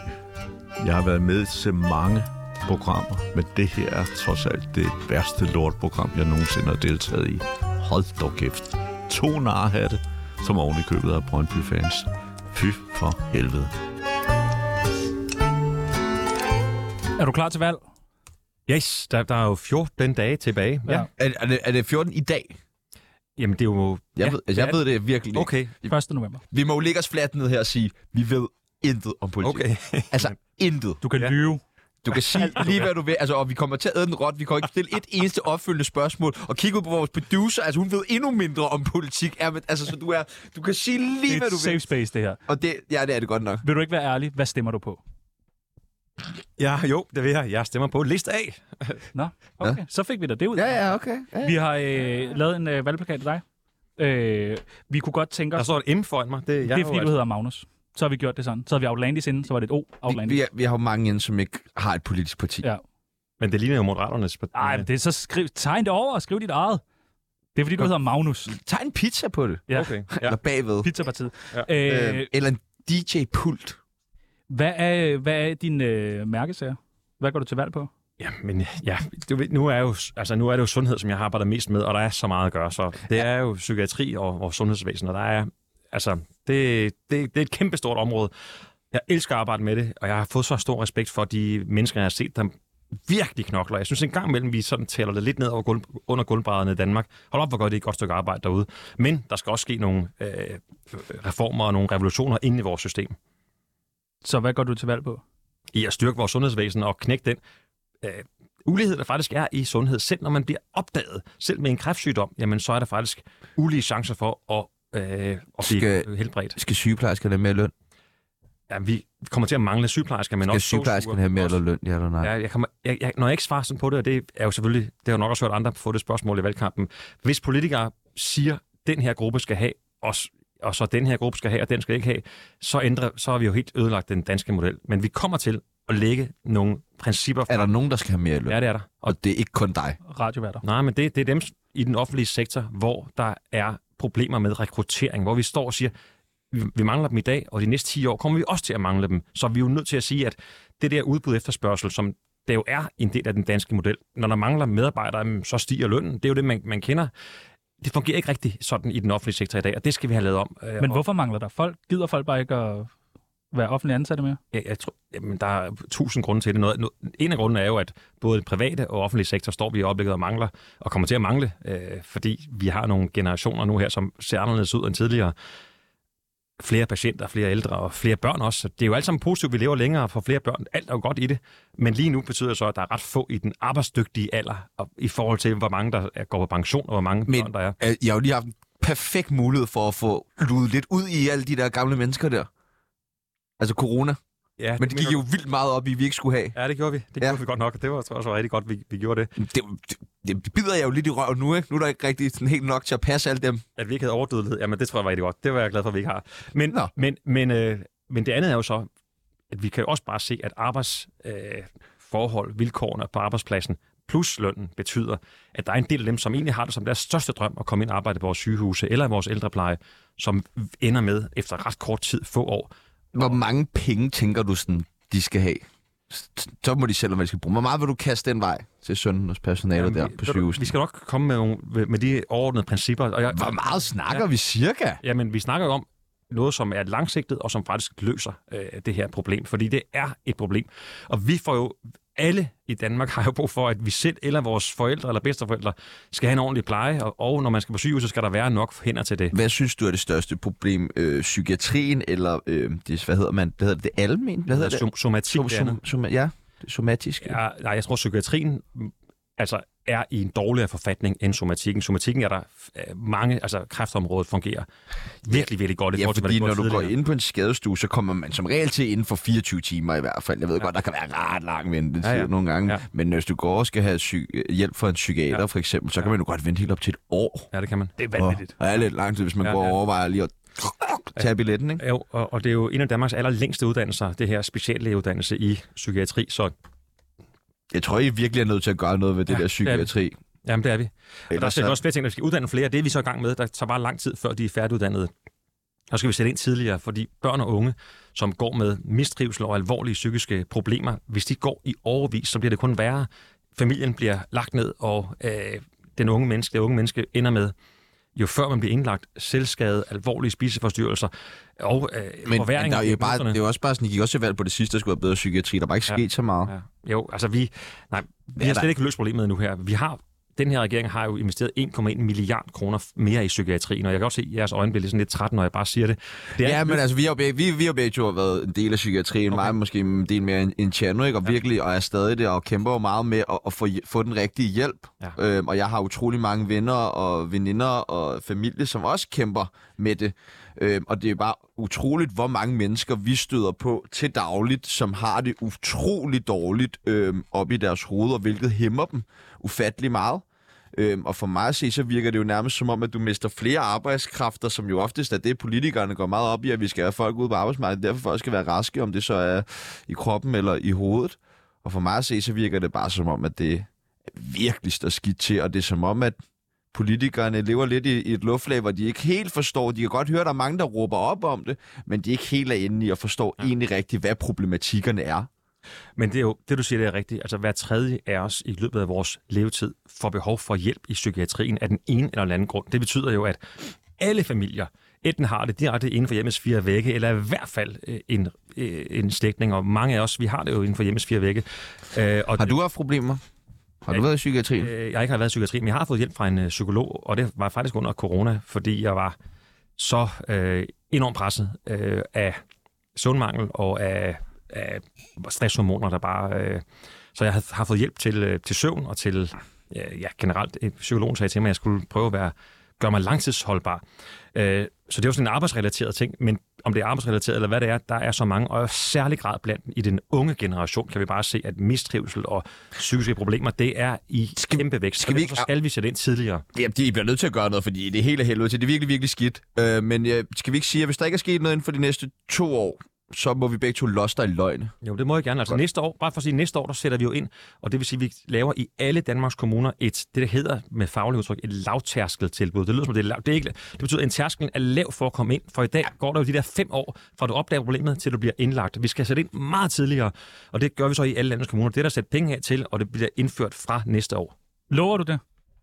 S2: Jeg har været med til mange programmer, men det her er trods alt det værste lortprogram, jeg nogensinde har deltaget i. Hold dog kæft. To narhatte, som oven i købet af Brøndby-fans. Fy for helvede.
S4: er du klar til valg?
S6: Yes, der, der er jo 14 dage tilbage. Ja.
S4: Ja.
S6: ja.
S1: Er, er, det, er det 14 i dag?
S6: Jamen, det er jo...
S1: Jeg,
S6: ja,
S1: ja, ved, altså, jeg
S6: ja.
S1: ved det virkelig ikke.
S4: 1. november.
S1: Vi må jo ligge os fladt ned her og sige, vi ved intet om politik.
S6: Okay.
S1: Altså intet.
S4: Du kan
S6: Ja.
S4: ja. lyve.
S1: Du kan sige lige, hvad du vil. Altså, og vi kommer til at æde den råt. Vi kommer ikke stille et eneste opfølgende spørgsmål. Og kigge ud på vores producer. Altså, hun ved endnu mindre om politik. Ja, men, altså, så du, er, du kan sige
S4: Det
S1: lige,
S4: er
S1: hvad
S4: et
S1: du
S4: safe
S1: vil.
S4: space, det her.
S1: Og det, ja, det er det godt nok.
S4: Vil du ikke være ærlig? Hvad stemmer du på?
S6: Ja, jo, det vil jeg. Jeg stemmer på liste A.
S4: Nå, okay. Ja. Så fik vi da det ud.
S1: ja, okay. Ja.
S4: Vi har øh, lavet en øh, valgplakat til dig. Øh, vi kunne godt tænke
S6: Der
S4: os...
S6: står et M foran mig. Det, jeg
S4: Det er fordi,
S6: jo altså-
S4: du hedder Magnus. Så har vi gjort det sådan. Så havde vi Outlandis inden, så var det et O.
S1: altså- Vi,
S4: Outlandis.
S1: vi, er, vi har jo mange ind, som ikke har et politisk parti.
S4: Ja.
S6: Men det ligner jo Moderaternes parti.
S4: Nej, men det er så skriv, tegn det over og skriv dit eget. Det er fordi, du hedder Magnus.
S1: Tag en pizza på det.
S4: Ja.
S6: Okay.
S1: Ja.
S6: Ja.
S1: Eller bagved.
S4: Pizzapartiet.
S6: Ja.
S4: Ja.
S1: Øh,
S4: Øh,
S1: eller en DJ-pult.
S4: hvad, er, hvad er din øh, mærkesager? Hvad går du til valg på?
S6: ja, men ja, du ved, nu, er jo, altså, nu er det jo sundhed, som jeg har arbejdet mest med, og der er så meget at gøre. Så det er jo psykiatri og, og sundhedsvæsen, og der er... Altså, det, det, det er et kæmpestort område. Jeg elsker at arbejde med det, og jeg har fået så stor respekt for de mennesker, jeg har set, der virkelig knokler. Jeg synes en gang imellem, vi sådan taler det lidt ned over gulv, under gulvbrædderne i Danmark. Hold op, hvor godt det er et godt stykke arbejde derude. Men der skal også ske nogle øh, reformer og nogle revolutioner inde i vores system.
S4: Så hvad går du til valg på?
S6: i at styrke vores sundhedsvæsen og knække den øh, ulighed, der faktisk er i sundhed. Selv når man bliver opdaget, selv med en kræftsygdom, jamen så er der faktisk ulige chancer for at, øh, at blive
S1: Skal-
S6: helbredt.
S1: Skal sygeplejerskerne have mere løn?
S6: Ja, vi kommer til at mangle sygeplejersker, men
S1: Skal
S6: også
S1: sygeplejerskerne have mere løn, ja eller nej?
S6: Ja, jeg kommer, jeg, jeg, når jeg ikke svarer sådan på det, og det er jo selvfølgelig, det har jeg nok også hørt andre få det spørgsmål i valgkampen. Hvis politikere siger, den her gruppe skal have, og, s- og så den her gruppe skal have, og den skal ikke have, så, ændrer, så har vi jo helt ødelagt den danske model. Men vi kommer til at lægge nogle principper
S1: Er
S6: frem.
S1: der nogen, der skal have mere løn?
S6: Ja, det er der.
S1: Og det er ikke kun dig.
S4: Radioværter.
S6: Nej, men det, det er dem s- i den offentlige sektor, hvor der er problemer med rekruttering, hvor vi står og siger, vi- vi mangler dem i dag, og de næste 10 år kommer vi også til at mangle dem. Så vi er jo nødt til at sige, at det der udbud efterspørgsel, som det jo er en del af den danske model, når der mangler medarbejdere, jamen, så stiger lønnen. Det er jo det, man, man kender. Det fungerer ikke rigtig sådan i den offentlige sektor i dag, og det skal vi have lavet om. Øh,
S4: Men
S6: og-
S4: hvorfor mangler der folk? Gider folk bare ikke at være offentlig ansatte mere?
S6: Jeg, jeg tror, jamen, der er tusind grunde til det. Noget, no- en af grundene er jo, at både den private og offentlige sektor står vi i øjeblikket og mangler, og kommer til at mangle, øh, fordi vi har nogle generationer nu her, som ser anderledes ud end tidligere. Flere patienter, flere ældre og flere børn også. Så Det er jo alt sammen positivt, vi lever længere og får flere børn. Alt er jo godt i det. Men lige nu betyder det så, at der er ret få i den arbejdsdygtige alder, og i forhold til, hvor mange der er- går på pension, og hvor mange
S1: Men-
S6: børn der er.
S1: Øh, Jeg har jo lige haft en perfekt mulighed for at få luet lidt ud i alle de der gamle mennesker der. Altså corona.
S6: Ja,
S1: Men det gik jo vildt meget op i, at vi ikke skulle have.
S6: Ja, det gjorde vi. Det
S1: Ja.
S6: gjorde vi godt nok. Det var, tror jeg, også var rigtig godt, vi, vi gjorde det.
S1: Det, det, det bider jeg jo lidt i røven nu, ikke? Nu er der ikke rigtig sådan helt nok til at passe alt dem.
S6: At vi ikke havde overdødelighed, jamen det tror jeg var rigtig godt. Det var jeg glad for, at vi ikke har. Men,
S1: Nå.
S6: men, men, øh, men det andet er jo så, at vi kan jo også bare se, at arbejdsforhold, øh, forhold, vilkårene på arbejdspladsen, plus lønnen, betyder, at der er en del af dem, som egentlig har det som deres største drøm at komme ind og arbejde på vores sygehuse eller i vores ældrepleje, som ender med efter ret kort tid, få år.
S1: Hvor mange penge tænker du sådan, de skal have? S- Så må de selv, om hvad de skal bruge. Hvor meget vil du kaste den vej til sønnen hos personalet
S6: Jamen,
S1: der
S6: vi-
S1: på
S6: ved du,
S1: sygehuset?
S6: Vi skal nok komme med, nogle, med de overordnede principper. Og jeg,
S1: Hvor meget snakker ja. vi cirka?
S6: Jamen, vi snakker jo om noget, som er langsigtet, og som faktisk løser øh, det her problem, fordi det er et problem. Og vi får jo, alle i Danmark har jo brug for, at vi selv eller vores forældre eller bedsteforældre skal have en ordentlig pleje, og, og når man skal på sygehus, så skal der være nok hænder til det.
S1: Hvad synes du er det største problem? Øh, psykiatrien eller, øh, det, hvad hedder man, hvad hedder det, det almen? Hvad hedder det?
S6: Som- Somatik,
S1: Som,
S6: det andet.
S1: som, som, ja, det somatiske. Ja.
S6: Ja, nej, jeg tror, psykiatrien mm, altså, er i en dårligere forfatning end somatikken. Somatikken er der øh, mange, altså kræftområdet fungerer virkelig, virkelig godt. i
S1: Ja,
S6: forhold til, hvad det
S1: fordi
S6: gjorde
S1: når du går
S6: tidligere.
S1: ind på en skadestue, så kommer man som regel til inden for 24 timer i hvert fald. Jeg ved ja. godt, der kan være ret lang ventetid ja,
S6: Ja,
S1: ja.
S6: ja.
S1: nogle gange, ja.
S6: Ja.
S1: men hvis du går og skal have psy- hjælp fra en psykiater ja. for eksempel, så kan man jo godt vente helt op til et år.
S6: Ja, det kan man.
S4: Det er vanvittigt.
S1: Og det er lidt lang tid, hvis man ja,
S6: Ja,
S1: går og
S6: ja.
S1: overvejer lige at tage billetten, ikke?
S6: Jo, og, og det er jo en af Danmarks allerlængste uddannelser, det her speciallægeuddannelse i psykiatri, så
S1: Jeg tror, I virkelig er nødt til at gøre noget ved det ja,
S6: Ja,
S1: der
S6: det er vi.
S1: psykiatri.
S6: jamen, det er vi. Og der
S1: Ellers
S6: skal
S1: så-
S6: også flere ting, der skal uddanne flere, det er vi så i gang med, der tager bare lang tid, før de er færdiguddannede. Der skal vi sætte ind tidligere, fordi børn og unge, som går med mistrivsel og alvorlige psykiske problemer, hvis de går i overvis, så bliver det kun værre. Familien bliver lagt ned, og øh, den unge menneske, det unge menneske ender med, jo før man bliver indlagt, selvskade, alvorlige spiseforstyrrelser og øh,
S1: Men, men
S6: forværring
S1: der er
S6: af
S1: jo bare,
S6: diagnoserne.
S1: det er jo også bare sådan, I gik også til valg på det sidste, der skulle være bedre psykiatri. Der var ikke
S6: Ja.
S1: sket så meget.
S6: Ja. Jo, altså vi, nej, vi
S1: er
S6: har
S1: der?
S6: slet ikke løst problemet endnu her. Vi har, den her regering har jo investeret 1,1 milliard kroner f- mere i psykiatrien, og jeg kan godt se, at jeres øjne bliver lidt sådan lidt træt, når jeg bare siger det. det er
S1: Ja,
S6: ikke
S1: men
S6: løst.
S1: altså, vi har jo begge, vi, vi har begge to været en del af psykiatrien, okay. mig måske en del mere end, end Tjerno, ikke? og virkelig, og er stadig der, og kæmper jo meget med at, at få, hj- få den rigtige hjælp. Ja.
S6: Ja.
S1: Øhm, og jeg har utrolig mange venner og veninder og familie, som også kæmper med det. Øhm, og det er bare utroligt, hvor mange mennesker vi støder på til dagligt, som har det utrolig dårligt øhm, op i deres hoveder, hvilket hæmmer dem ufattelig meget. Øhm, og for mig at se, så virker det jo nærmest som om, at du mister flere arbejdskræfter, som jo oftest er det, politikerne går meget op i, at vi skal have folk ude på arbejdsmarkedet, derfor folk skal være raske, om det så er i kroppen eller i hovedet. Og for mig at se, så virker det bare som om, at det virkelig står skidt til, og det er som om, at politikerne lever lidt i, i et luftlag, hvor de ikke helt forstår, de kan godt høre, at der er mange, der råber op om det, men de er ikke helt er inde i og forstår ja. egentlig rigtigt, hvad problematikkerne er.
S6: Men det er jo, det du siger, det er rigtigt. Altså hver tredje af os i løbet af vores levetid får behov for hjælp i psykiatrien af den ene eller den anden grund. Det betyder jo, at alle familier enten har det direkte inden for hjemmets fire vægge, eller i hvert fald øh, en, øh, en slægtning, og mange af os, vi har det jo inden for hjemmets fire vægge. Øh, og
S1: Har du haft problemer? Har du
S6: Øh,
S1: været i psykiatrien?
S6: Øh, jeg har ikke har været i psykiatrien, men jeg har fået hjælp fra en øh, psykolog, og det var faktisk under corona, fordi jeg var så øh, enormt presset øh, af søvnmangel og af
S2: af stresshormoner, der bare... Øh, så jeg har, har fået hjælp til, øh, til søvn og til... Øh, ja, generelt, øh, psykologen sagde til mig, at jeg skulle prøve at være, gøre mig langtidsholdbar. Øh, så det er jo sådan en arbejdsrelateret ting, men om det er arbejdsrelateret eller hvad det er, der er så mange, og i særlig grad blandt i den unge generation, kan vi bare se, at mistrivsel og psykiske problemer, det er i skal, kæmpe vækst. Skal vi ikke, så skal vi sætte ind tidligere.
S1: Ja, de bliver nødt til at gøre noget, fordi det er helt af helvede til. Det er virkelig, virkelig skidt. Øh, men øh, skal vi ikke sige, at hvis der ikke er sket noget inden for de næste to år, så må vi begge to losse dig i løgne.
S2: Jo, det må jeg gerne. Altså Godt. næste år, bare for at sige, næste år, der sætter vi jo ind, og det vil sige, at vi laver i alle Danmarks kommuner et, det der hedder med faglig udtryk, et lavtærskeltilbud. Det lyder som, det er lav, det er ikke, det betyder, at en tærskel er lav for at komme ind, for i dag går der jo de der fem år, fra du opdager problemet, til du bliver indlagt. Vi skal sætte ind meget tidligere, og det gør vi så i alle landets kommuner. Det er der sat penge af til, og det bliver indført fra næste år.
S4: Lover du det?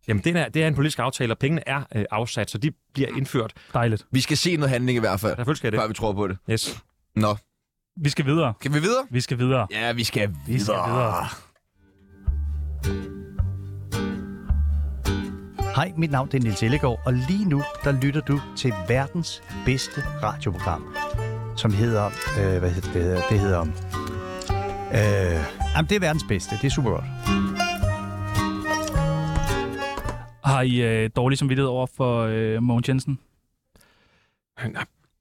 S2: Jamen, det er, det er en politisk aftale, og pengene er øh, afsat, så de bliver indført.
S4: Dejligt.
S1: Vi skal se noget handling i hvert fald,
S2: Selvfølgelig skal
S1: før
S2: det.
S1: vi tror på det.
S2: Yes.
S1: Nå,
S4: Vi skal videre.
S1: kan vi videre?
S4: Vi skal videre.
S1: Ja, vi skal videre.
S4: Vi skal videre.
S9: Hej, mit navn det er Nils Ellegaard, og lige nu der lytter du til verdens bedste radioprogram, som hedder... Øh, hvad hedder det? hedder- Det hedder... Øh, jamen, det er verdens bedste. Det er super godt.
S4: Har I øh, dårlig samvittighed over for øh, Mogens Jensen?
S2: Nej,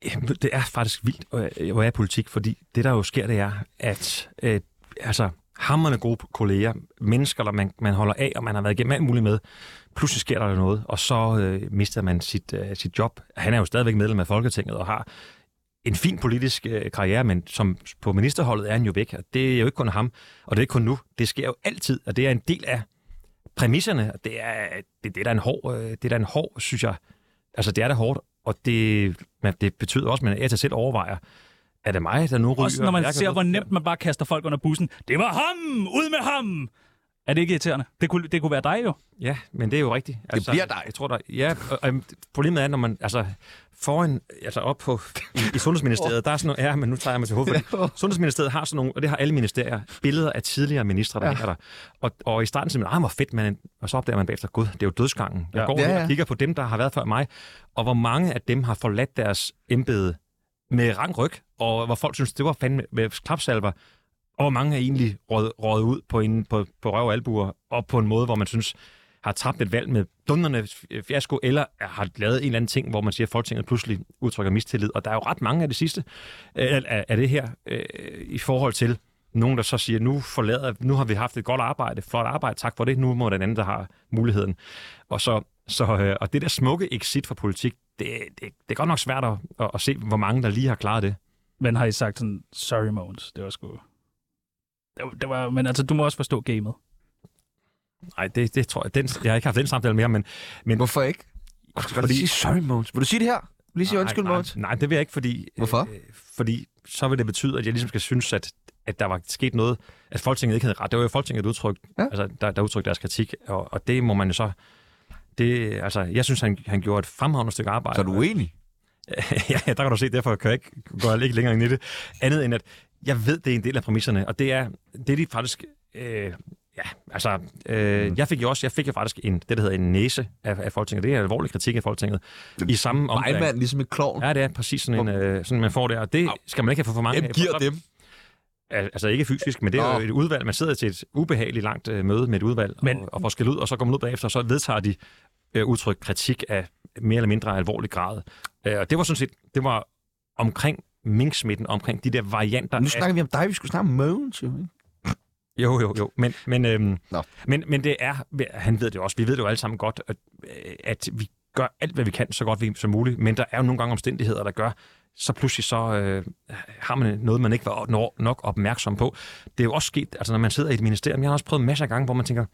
S2: jamen, Det er faktisk vildt, øh, hvor jeg er i politik, fordi det, der jo sker, det er, at øh, altså, hammerne gode kolleger, mennesker, der man, man holder af, og man har været igennem alt muligt med, pludselig sker der noget, og så øh, mister man sit, øh, sit job. Han er jo stadigvæk medlem af Folketinget og har en fin politisk øh, karriere, men som på ministerholdet er han jo væk, og det er jo ikke kun ham, og det er ikke kun nu. Det sker jo altid, og det er en del af præmisserne, og det er, det, det er da en hård, øh, det er da en hård, synes jeg, altså det er da hårdt, og det, men det betyder også, at man er til selv overvejer, er det mig, der nu ryger?
S4: Også når
S2: Jeg
S4: man
S2: kan
S4: ser,
S2: bedre-
S4: hvor nemt man bare kaster folk under bussen. Det var ham! Ud med ham! Er det ikke irriterende? Det kunne, det kunne være dig jo.
S2: Ja, men det er jo rigtigt. Altså,
S1: bliver dig.
S2: Jeg tror der, ja, og, og, problemet er, når man altså, foran, altså op på, i, i Sundhedsministeriet, der er sådan noget, ja, men nu tager jeg mig til hovedet. <laughs> fordi Sundhedsministeriet har sådan nogle, og det har alle ministerier, billeder af tidligere ministre, der ja. hænger der. Og, og i starten siger man, ah, hvor fedt, man, er." og så opdager man bagefter, gud, det er jo dødsgangen. Jeg
S4: Ja.
S2: ja. går
S1: Ja,
S2: ja, ja.
S1: ja.
S2: og kigger på dem, der har været før mig, og hvor mange af dem har forladt deres embede med rang ryg, og hvor folk synes, det var fandme med klapsalver, og hvor mange er egentlig røget, røget ud på, en, på, på røv og albuer, og på en måde, hvor man synes, har tabt et valg med dunderne fiasko, eller har lavet en eller anden ting, hvor man siger, at Folketinget pludselig udtrykker mistillid. Og der er jo ret mange af det sidste øh, af, af det her øh, i forhold til nogen, der så siger, nu forlader, nu har vi haft et godt arbejde, flot arbejde, tak for det, nu må den anden, der har muligheden. Og, så, så, øh, og det der smukke exit fra politik, det, det, det er godt nok svært at, at, at se, hvor mange, der lige har klaret det.
S4: Men har I sagt sådan, sorry Mogens, det var sgu... Det var, det var, men altså, du må også forstå gamet.
S2: Nej, det, det tror jeg, den, jeg har ikke haft den samtale mere, men
S1: Hvorfor ikke? Skal du
S2: Fordi-
S1: sige sorry, Mogens? Vil du sige det her? Vil du sige undskyld,
S2: nej,
S1: Mogens?
S2: Nej, det vil jeg ikke, fordi...
S1: Hvorfor?
S2: Øh, fordi så vil det betyde, at jeg ligesom skal synes, at, at der var sket noget, at Folketinget ikke havde ret. Det var jo Folketinget, der udtrykte, ja.
S1: Ja.
S2: altså, der, der udtrykte deres kritik, og, og det må man jo så... Det, altså, jeg synes, han, han gjorde et fremragende stykke arbejde.
S1: Så er du uenig?
S2: <laughs> ja, ja, der kan du se, derfor kan jeg ikke, går jeg ikke længere ind i det. Andet end, at jeg ved, det er en del af præmisserne, og det er, det er de faktisk... Øh, ja, altså, øh, mm. jeg fik jo også, jeg fik jo faktisk en, det, der hedder en næse af, af Folketinget. Det er en alvorlig kritik af Folketinget. I samme ombæring.
S1: Vejmand ligesom et klovn.
S2: Ja, det er præcis sådan en, øh, sådan man får det, og det skal man ikke have for for mange
S1: Hvem giver
S2: For-
S1: dem?
S2: Al- Altså ikke fysisk, men det er jo
S1: Nå.
S2: et udvalg. Man sidder til et ubehageligt langt øh, møde med et udvalg men...
S4: Men-
S2: og, og får skæld ud, og så går man ud bagefter, og så vedtager de øh, udtryk kritik af mere eller mindre alvorlig grad. Øh, og det var sådan set, det var omkring minksmitten, omkring de der varianter
S1: Nu
S2: af
S1: snakker vi om dig, vi skulle snakke om Mogens, jo. ikke?
S2: Jo, jo, jo. Men, men, øhm,
S1: Nå.
S2: men, men det er, han ved det jo også, vi ved det jo alle sammen godt, at, øh, at vi gør alt, hvad vi kan, så godt vi, som muligt, men der er jo nogle gange omstændigheder, der gør, så pludselig så øh, har man noget, man ikke var no- nok opmærksom på. Det er jo også sket, altså når man sidder i et ministerium, jeg har også prøvet masser af gange, hvor man tænker,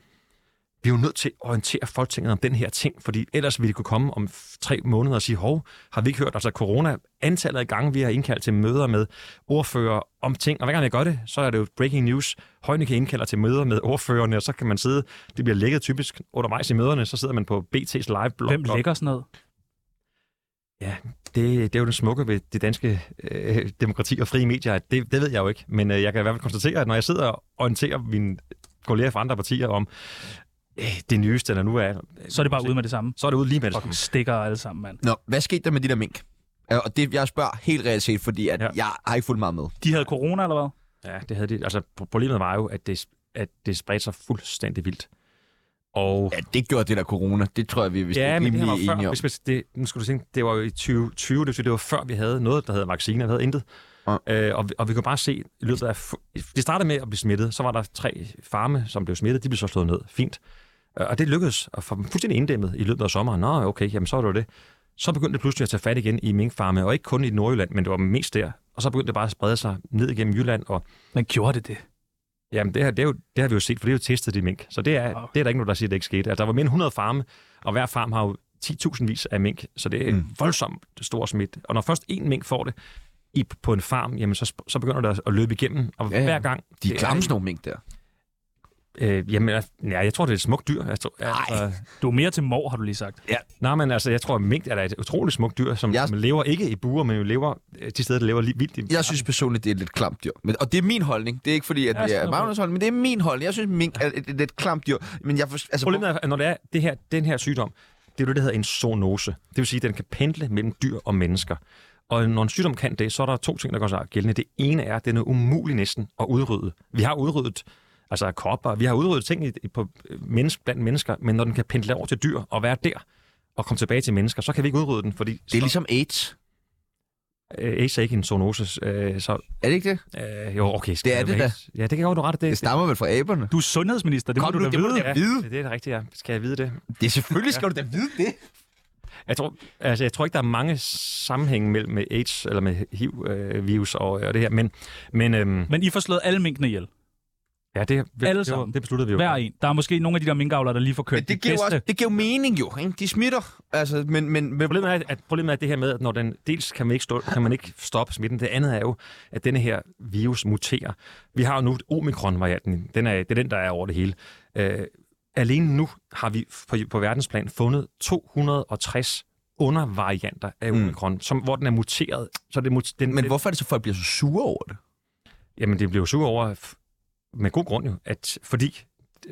S2: vi er jo nødt til at orientere Folketinget om den her ting, fordi ellers ville de kunne komme om f- tre måneder og sige, hov, har vi ikke hørt, altså corona, antallet af gange, vi har indkaldt til møder med ordfører om ting, og hver gang jeg gør det, så er det jo breaking news. Højnække indkalder til møder med ordførerne, og så kan man sidde, det bliver lækket typisk undervejs i møderne, så sidder man på BT's live blog.
S4: Hvem lægger sådan noget?
S2: Det, det er jo det smukke ved det danske øh, demokrati og frie medier, at det, det ved jeg jo ikke, men øh, jeg kan i hvert fald konstatere, at når jeg sidder og orienterer mine kolleger fra andre partier om øh, det nyeste, der nu er,
S4: Så er det bare ude med det samme.
S2: så er det ude lige med det samme.
S4: Fucking stikker alle sammen, mand.
S1: Nå, hvad skete der med de der mink? Øh, Og det, jeg spørger helt reelt set, fordi at
S2: Ja.
S1: ja. jeg har ikke fulgt meget med.
S4: De havde corona, eller hvad?
S6: Ja, det havde de. Altså, pro- problemet var jo, at det, at det spredte sig fuldstændig vildt. Og...
S1: Ja, det gjorde det der corona. Det tror jeg, vi er vist
S6: ja, men det her
S1: rimelig
S6: var før,
S1: enige om.
S6: Hvis, hvis det, nu skulle du tænke, det var jo i 2020, det, vil sige, det var før vi havde noget, der hedder vacciner, vi havde intet. Ja. Øh, og, vi- og vi kunne bare se, i løbet af, fu- det startede med at blive smittet, så var der tre farme, som blev smittet, de blev så slået ned. Fint. Øh, Og det lykkedes at få dem fuldstændig inddæmmet i løbet af sommeren. Nå, okay, jamen så var det jo det. Så begyndte det pludselig at tage fat igen i minkfarme, og ikke kun i Nordjylland, men det var mest der. Og så begyndte det bare at sprede sig ned igennem Jylland. Og,
S4: Men gjorde det det?
S6: Jamen, det, her, det, er jo, det har vi jo set, for det er jo testet de mink. Så det er, det er der ikke nogen, der siger, at det ikke skete. Altså, der var mere end 100 farme, og hver farm har jo 10.000 vis af mink, så det er mm. voldsomt stor smidt. Og når først én mink får det i, på en farm, jamen, så, sp- så begynder det at- at løbe igennem. Og ja, hver gang...
S1: De er
S6: det
S1: klamme, sådan nogle mink der.
S6: Øh, jamen, jeg, ja, jeg tror, det er et smukt dyr. Jeg tror, altså,
S4: du er mere til mor, har du lige sagt.
S6: Ja. Nej, men altså, jeg tror, at mink er da et utroligt smukt dyr, som, jeg... som lever ikke i buer, men jo lever øh, de steder, der lever lige vildt. I...
S1: Jeg synes personligt, det er et lidt klamt dyr. Men, og det er min holdning. Det er ikke fordi, at
S6: Ja,
S1: det
S6: sådan
S1: er
S6: er
S1: Magnus' holdning, men det er min holdning. Jeg synes, mink er et, et lidt klamt dyr. Men jeg for, altså,
S6: Problemet er, at når det er det her, den her sygdom, det er jo det, der hedder en zoonose. Det vil sige, at den kan pendle mellem dyr og mennesker. Og når en sygdom kan det, så er der to ting, der går sig gældende. Det ene er, at den er umulig næsten at udrydde. Vi har udryddet altså kopper, vi har udryddet ting i, i- på, øh, menneske, blandt mennesker, men når den kan pendle over til dyr og være der, og komme tilbage til mennesker, så kan vi ikke udrydde den, fordi... Det er
S1: ligesom AIDS.
S6: AIDS er ikke en zoonose, øh, så...
S1: Er det ikke det?
S6: Øh, jo, okay.
S1: Det er
S6: jeg
S1: det
S6: jo
S1: da.
S6: ikke- Ja, det kan jeg godt du ret. Det,
S1: det stammer vel fra aberne.
S4: Du er sundhedsminister, det
S1: Kom
S4: må du
S1: nu,
S4: da
S1: det må
S4: vide.
S1: du da vide.
S6: Det er det rigtigt, ja. Skal jeg vide det?
S1: Det er selvfølgelig, skal du da vide det.
S6: Jeg tror, altså, jeg tror ikke, der er mange sammenhænge mellem med AIDS eller med HIV-virus og, og det her, men... Men, øhm,
S4: Men I får slået alle minkene ihjel.
S6: Ja, det, det,
S4: Alle
S6: det, var-
S4: sammen.
S6: det besluttede vi jo.
S4: Hver en. Der er måske nogle af de der minkavlere, der lige får kørt
S6: Men det
S4: de
S6: giver jo
S4: bedste.
S6: også-
S1: Det giver jo mening jo. Ikke? De smitter. Altså, men, men, men...
S6: Problemet, er, at, problemet er det her med, at når den, dels kan man, ikke stå, kan man ikke stoppe smitten, det andet er jo, at denne her virus muterer. Vi har jo nu omikron-varianten, den er, det er den, der er over det hele. Øh, alene nu har vi på, på verdensplan fundet 260 undervarianter af omikron, mm. som, hvor den er muteret. Så det, mut- den,
S1: Men hvorfor er det så, folk bliver så sure over det?
S6: Jamen, det blev jo sure over, f- med god grund jo, at fordi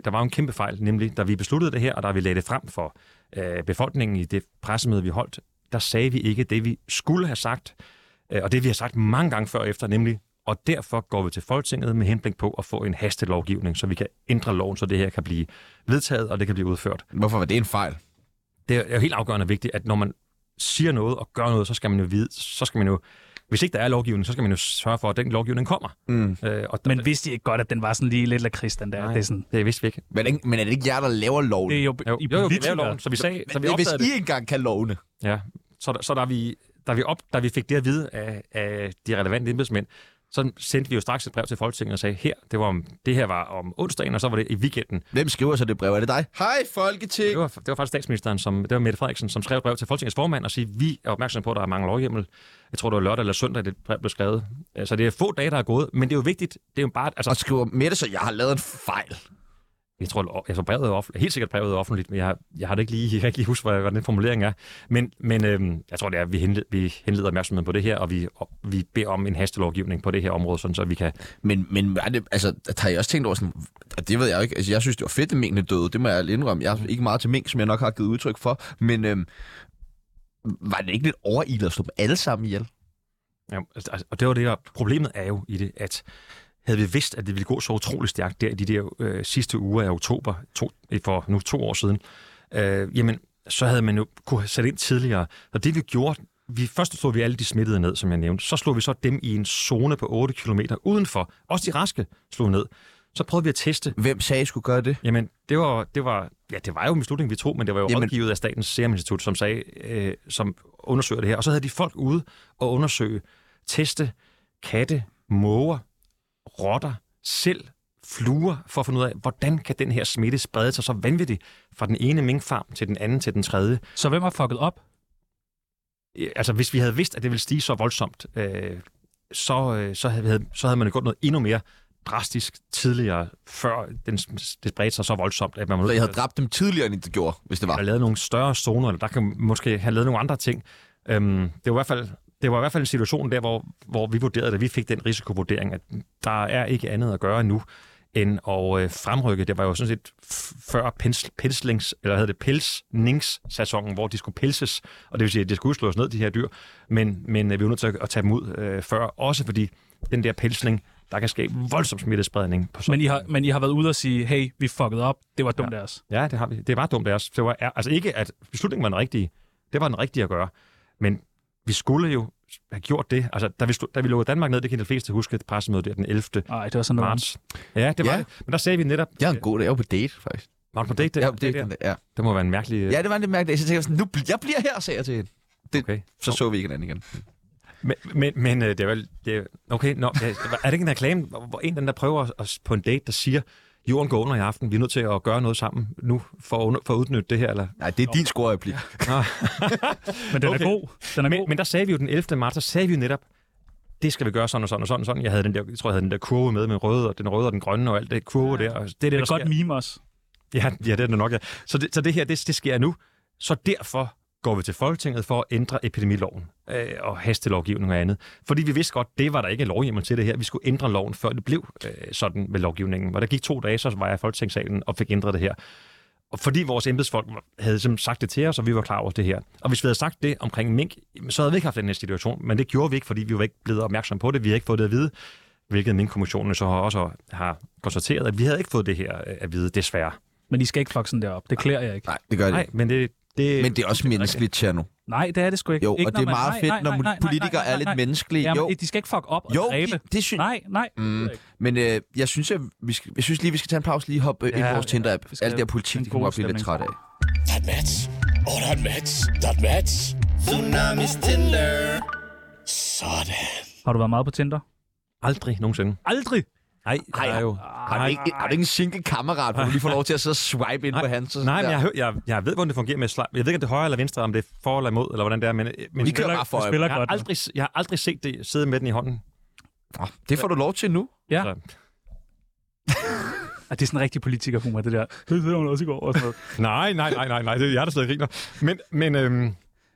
S6: der var jo en kæmpe fejl, nemlig da vi besluttede det her, og da vi lagde det frem for øh, befolkningen i det pressemøde, vi holdt, der sagde vi ikke det, vi skulle have sagt, øh, og det vi har sagt mange gange før og efter, nemlig, og derfor går vi til Folketinget med henblik på at få en hastelovgivning, så vi kan ændre loven, så det her kan blive vedtaget, og det kan blive udført.
S1: Hvorfor var det en fejl?
S6: Det er jo helt afgørende vigtigt, at når man siger noget og gør noget, så skal man jo vide, så skal man jo, hvis ikke der er lovgivning, så skal man jo sørge for, at den lovgivning kommer.
S1: Mm.
S6: Øh, og
S4: Men vidste I ikke godt, at den var sådan lige lidt lakrids, den der? Nej, det er sådan...
S6: det vidste vi ikke.
S1: Men, men er det ikke jer, der laver loven?
S4: Det er jo,
S6: Jo,
S4: I
S6: jo, jo, vi
S4: politikere.
S6: laver loven, så vi sagde, så, så vi
S1: hvis
S6: opdagede
S1: I engang kan lovene.
S6: Ja, så, der- så der vi, da, vi op, da vi fik det at vide af, af de relevante embedsmænd, så sendte vi jo straks et brev til Folketinget og sagde, her, det, var om, det her var om onsdagen, og så var det i weekenden.
S1: Hvem skriver så det brev? Er det dig? Hej, Folketing!
S6: Det var, det var faktisk statsministeren, som, det var Mette Frederiksen, som skrev et brev til Folketingets formand og sagde, vi er opmærksomme på, at der er mange lovhjemmel. Jeg tror, det var lørdag eller søndag, det brev blev skrevet. Øh, Så det er få dage, der er gået, men det er jo vigtigt. Det er jo bare, altså,
S1: Og skriver Mette, så jeg har lavet en fejl.
S6: Jeg tror, jeg tror brevet er offentligt. Helt sikkert brevet er offentligt, men jeg, har- jeg har det ikke lige, jeg kan ikke lige huske, hvad, hvad den formulering er. Men, men øhm, jeg tror, det er, at vi, henled, vi henleder opmærksomheden på det her, og vi, og vi beder om en hastelovgivning på det her område, sådan, så vi kan...
S1: Men, men er det, altså, der har jeg også tænkt over sådan, og det ved jeg jo ikke, altså jeg synes, det var fedt, at minkene døde, det må jeg indrømme. Jeg er ikke meget til mink, som jeg nok har givet udtryk for, men øhm, var det ikke lidt overilet at slå dem alle sammen ihjel?
S6: Ja, altså, og det var det, der problemet er jo i det, at havde vi vidst, at det ville gå så utrolig stærkt der i de der øh, sidste uger af oktober, to, eh, for nu to år siden, øh, jamen, så havde man jo kunne have sat ind tidligere. Og det vi gjorde, vi, først slog vi alle de smittede ned, som jeg nævnte. Så slog vi så dem i en zone på 8 km udenfor. Også de raske slog ned. Så prøvede vi at teste.
S1: Hvem sagde, I skulle gøre det?
S6: Jamen, det var, det var, ja, det var jo en beslutning, vi tog, men det var jo
S1: Jamen-
S6: Jamen. rådgivet af Statens Serum Institut, som, sagde, øh, som undersøger det her. Og så havde de folk ude og undersøge, teste katte, måger, rotter, selv fluer, for at finde ud af, hvordan kan den her smitte sprede sig så vanvittigt fra den ene minkfarm til den anden til den tredje.
S4: Så hvem har fucket op?
S6: Øh, Altså, hvis vi havde vidst, at det ville stige så voldsomt, øh, så, øh, så, havde, så havde man jo gjort noget endnu mere drastisk tidligere, før den, s- det spredte sig så voldsomt. At man var nødt
S1: Så
S6: til
S1: I
S6: at-
S1: havde dræbt dem tidligere, end I gjorde, hvis det var.
S6: have lavet nogle større zoner, eller der kan måske have lavet nogle andre ting. Øhm, det, var i hvert fald, det var i hvert fald en situation der, hvor, hvor vi vurderede, at vi fik den risikovurdering, at der er ikke andet at gøre nu, end at øh, fremrykke. Det var jo sådan set f- før pens, penslings, eller hedder det pelsningssæsonen, hvor de skulle pelses, og det vil sige, at det skulle slås ned, de her dyr, men, men øh, vi var nødt til at, at tage dem ud øh, før, også fordi den der pelsning der kan ske voldsom smittespredning. På
S4: men, I har, men I har været ude og sige, hey, vi fuckede op, det var dumt ja. af os.
S6: Ja, det har vi. Det var dumt af os. Det var, altså ikke, at beslutningen var den rigtige. Det var den rigtige at gøre. Men vi skulle jo have gjort det. Altså, da vi, stod, da vi lukkede Danmark ned, det kan de fleste huske, et pressemøde der den 11.
S4: Ej, det var sådan noget.
S6: marts. Ja, det var ja. det. Men der sagde vi netop...
S10: Jeg er en god dag. Jeg var på date, faktisk.
S6: Var du på date? Det,
S10: Ja, på date,
S6: det,
S10: ja.
S6: det må være en mærkelig...
S10: Ja, det var en lidt mærkelig dag. Så tænkte jeg sådan, nu bl- jeg bliver her, sagde jeg til hende. Det,
S6: Okay.
S10: Så så vi ikke hinanden igen.
S6: Men, men, men øh, det er vel... Det er, okay, nå, ja, er det ikke en reklame, hvor hvor en den der prøver at- at, på en date, der siger, jorden går under i aften, vi er nødt til at gøre noget sammen nu, for at, under, for at udnytte det her, eller...
S10: Nej, det er din scoreøjeblik.
S6: Nå.
S4: Men den okay. er god. Den er
S6: men,
S4: god.
S6: men der sagde vi jo den 11. marts, der sagde vi jo netop, det skal vi gøre sådan og sådan og sådan. og sådan. Jeg, havde den der, jeg tror, jeg havde den der kurve med, med røde og den røde og den grønne og alt det kurve der. Og det er det,
S4: Det
S6: der
S4: er godt
S6: sker.
S4: meme også.
S6: Ja, ja, det er det nok. Ja. Så, det, så det her, det, det sker nu. Så derfor går vi til Folketinget for at ændre epidemiloven øh, og hastelovgivning og andet. Fordi vi vidste godt, det var der ikke lovhjemmel til det her. Vi skulle ændre loven, før det blev øh, sådan med lovgivningen. Og der gik to dage, så var jeg i Folketingssalen og fik ændret det her. Og fordi vores embedsfolk havde simpelthen sagt det til os, og vi var klar over det her. Og hvis vi havde sagt det omkring mink, jamen, så havde vi ikke haft den her situation. Men det gjorde vi ikke, fordi vi var ikke blevet opmærksomme på det. Vi havde ikke fået det at vide, hvilket minkkommissionen så har også har konstateret, at vi havde ikke fået det her øh, at vide, desværre.
S4: Men I skal ikke fucke sådan der op. Det klæder jeg ikke.
S10: Nej, det gør det.
S6: Nej, men det... det
S10: Men det er også menneskeligt, Tjerno.
S4: Nej, det er det sgu ikke.
S10: Jo,
S4: ikke,
S10: og
S4: når
S10: det er
S4: man-
S10: meget
S4: nej,
S10: fedt,
S4: nej,
S10: når
S4: nej, nej,
S10: politikere
S4: nej, nej,
S10: er lidt
S4: nej.
S10: menneskelige.
S4: Jamen,
S10: Jo.
S4: de skal ikke fuck op og
S10: Jo,
S4: dræbe.
S10: det- det synes-
S4: Nej, nej.
S10: Mm. Men øh, jeg synes, at vi skal, jeg synes lige, vi skal tage en pause lige og hoppe ja, ind
S4: Ja,
S10: på vores
S4: ja,
S10: Tinder-app.
S4: vi skal-
S10: Alt det der
S4: den
S10: politik, det
S4: gode
S10: kunne jeg blive lidt træt
S4: stemning.
S10: af.
S7: Der er et match. Åh, oh, der er et match. Der er et match. Tsunamis Tinder. Sådan.
S4: Har du været meget på Tinder?
S6: Aldrig nogensinde.
S4: Aldrig.
S6: Nej,
S10: Ej,
S6: der er jo...
S10: Har du ikke, har du ikke en single kammerat, hvor du lige får lov til at sidde og swipe ind på hans? og sådan
S6: Nej, men
S10: der?
S6: jeg, hø- jeg, jeg ved, hvordan det fungerer med slag. Jeg ved ikke, om det er højre eller venstre, om det er for eller imod, eller hvordan det er, men, øh, men
S10: Vi kører bare for
S4: du
S10: øje.
S4: spiller
S6: jeg, har
S4: godt. Aldrig.
S6: aldrig, jeg har aldrig set det sidde med den i hånden.
S10: Nå, Det får du lov til nu.
S4: Ja. Ah, det er sådan en rigtig politikerhumor, det der. Det sidder hun også i går. Og sådan noget.
S6: Nej, nej, nej, nej, nej, det er jeg, der sidder og griner. Men, men øhm,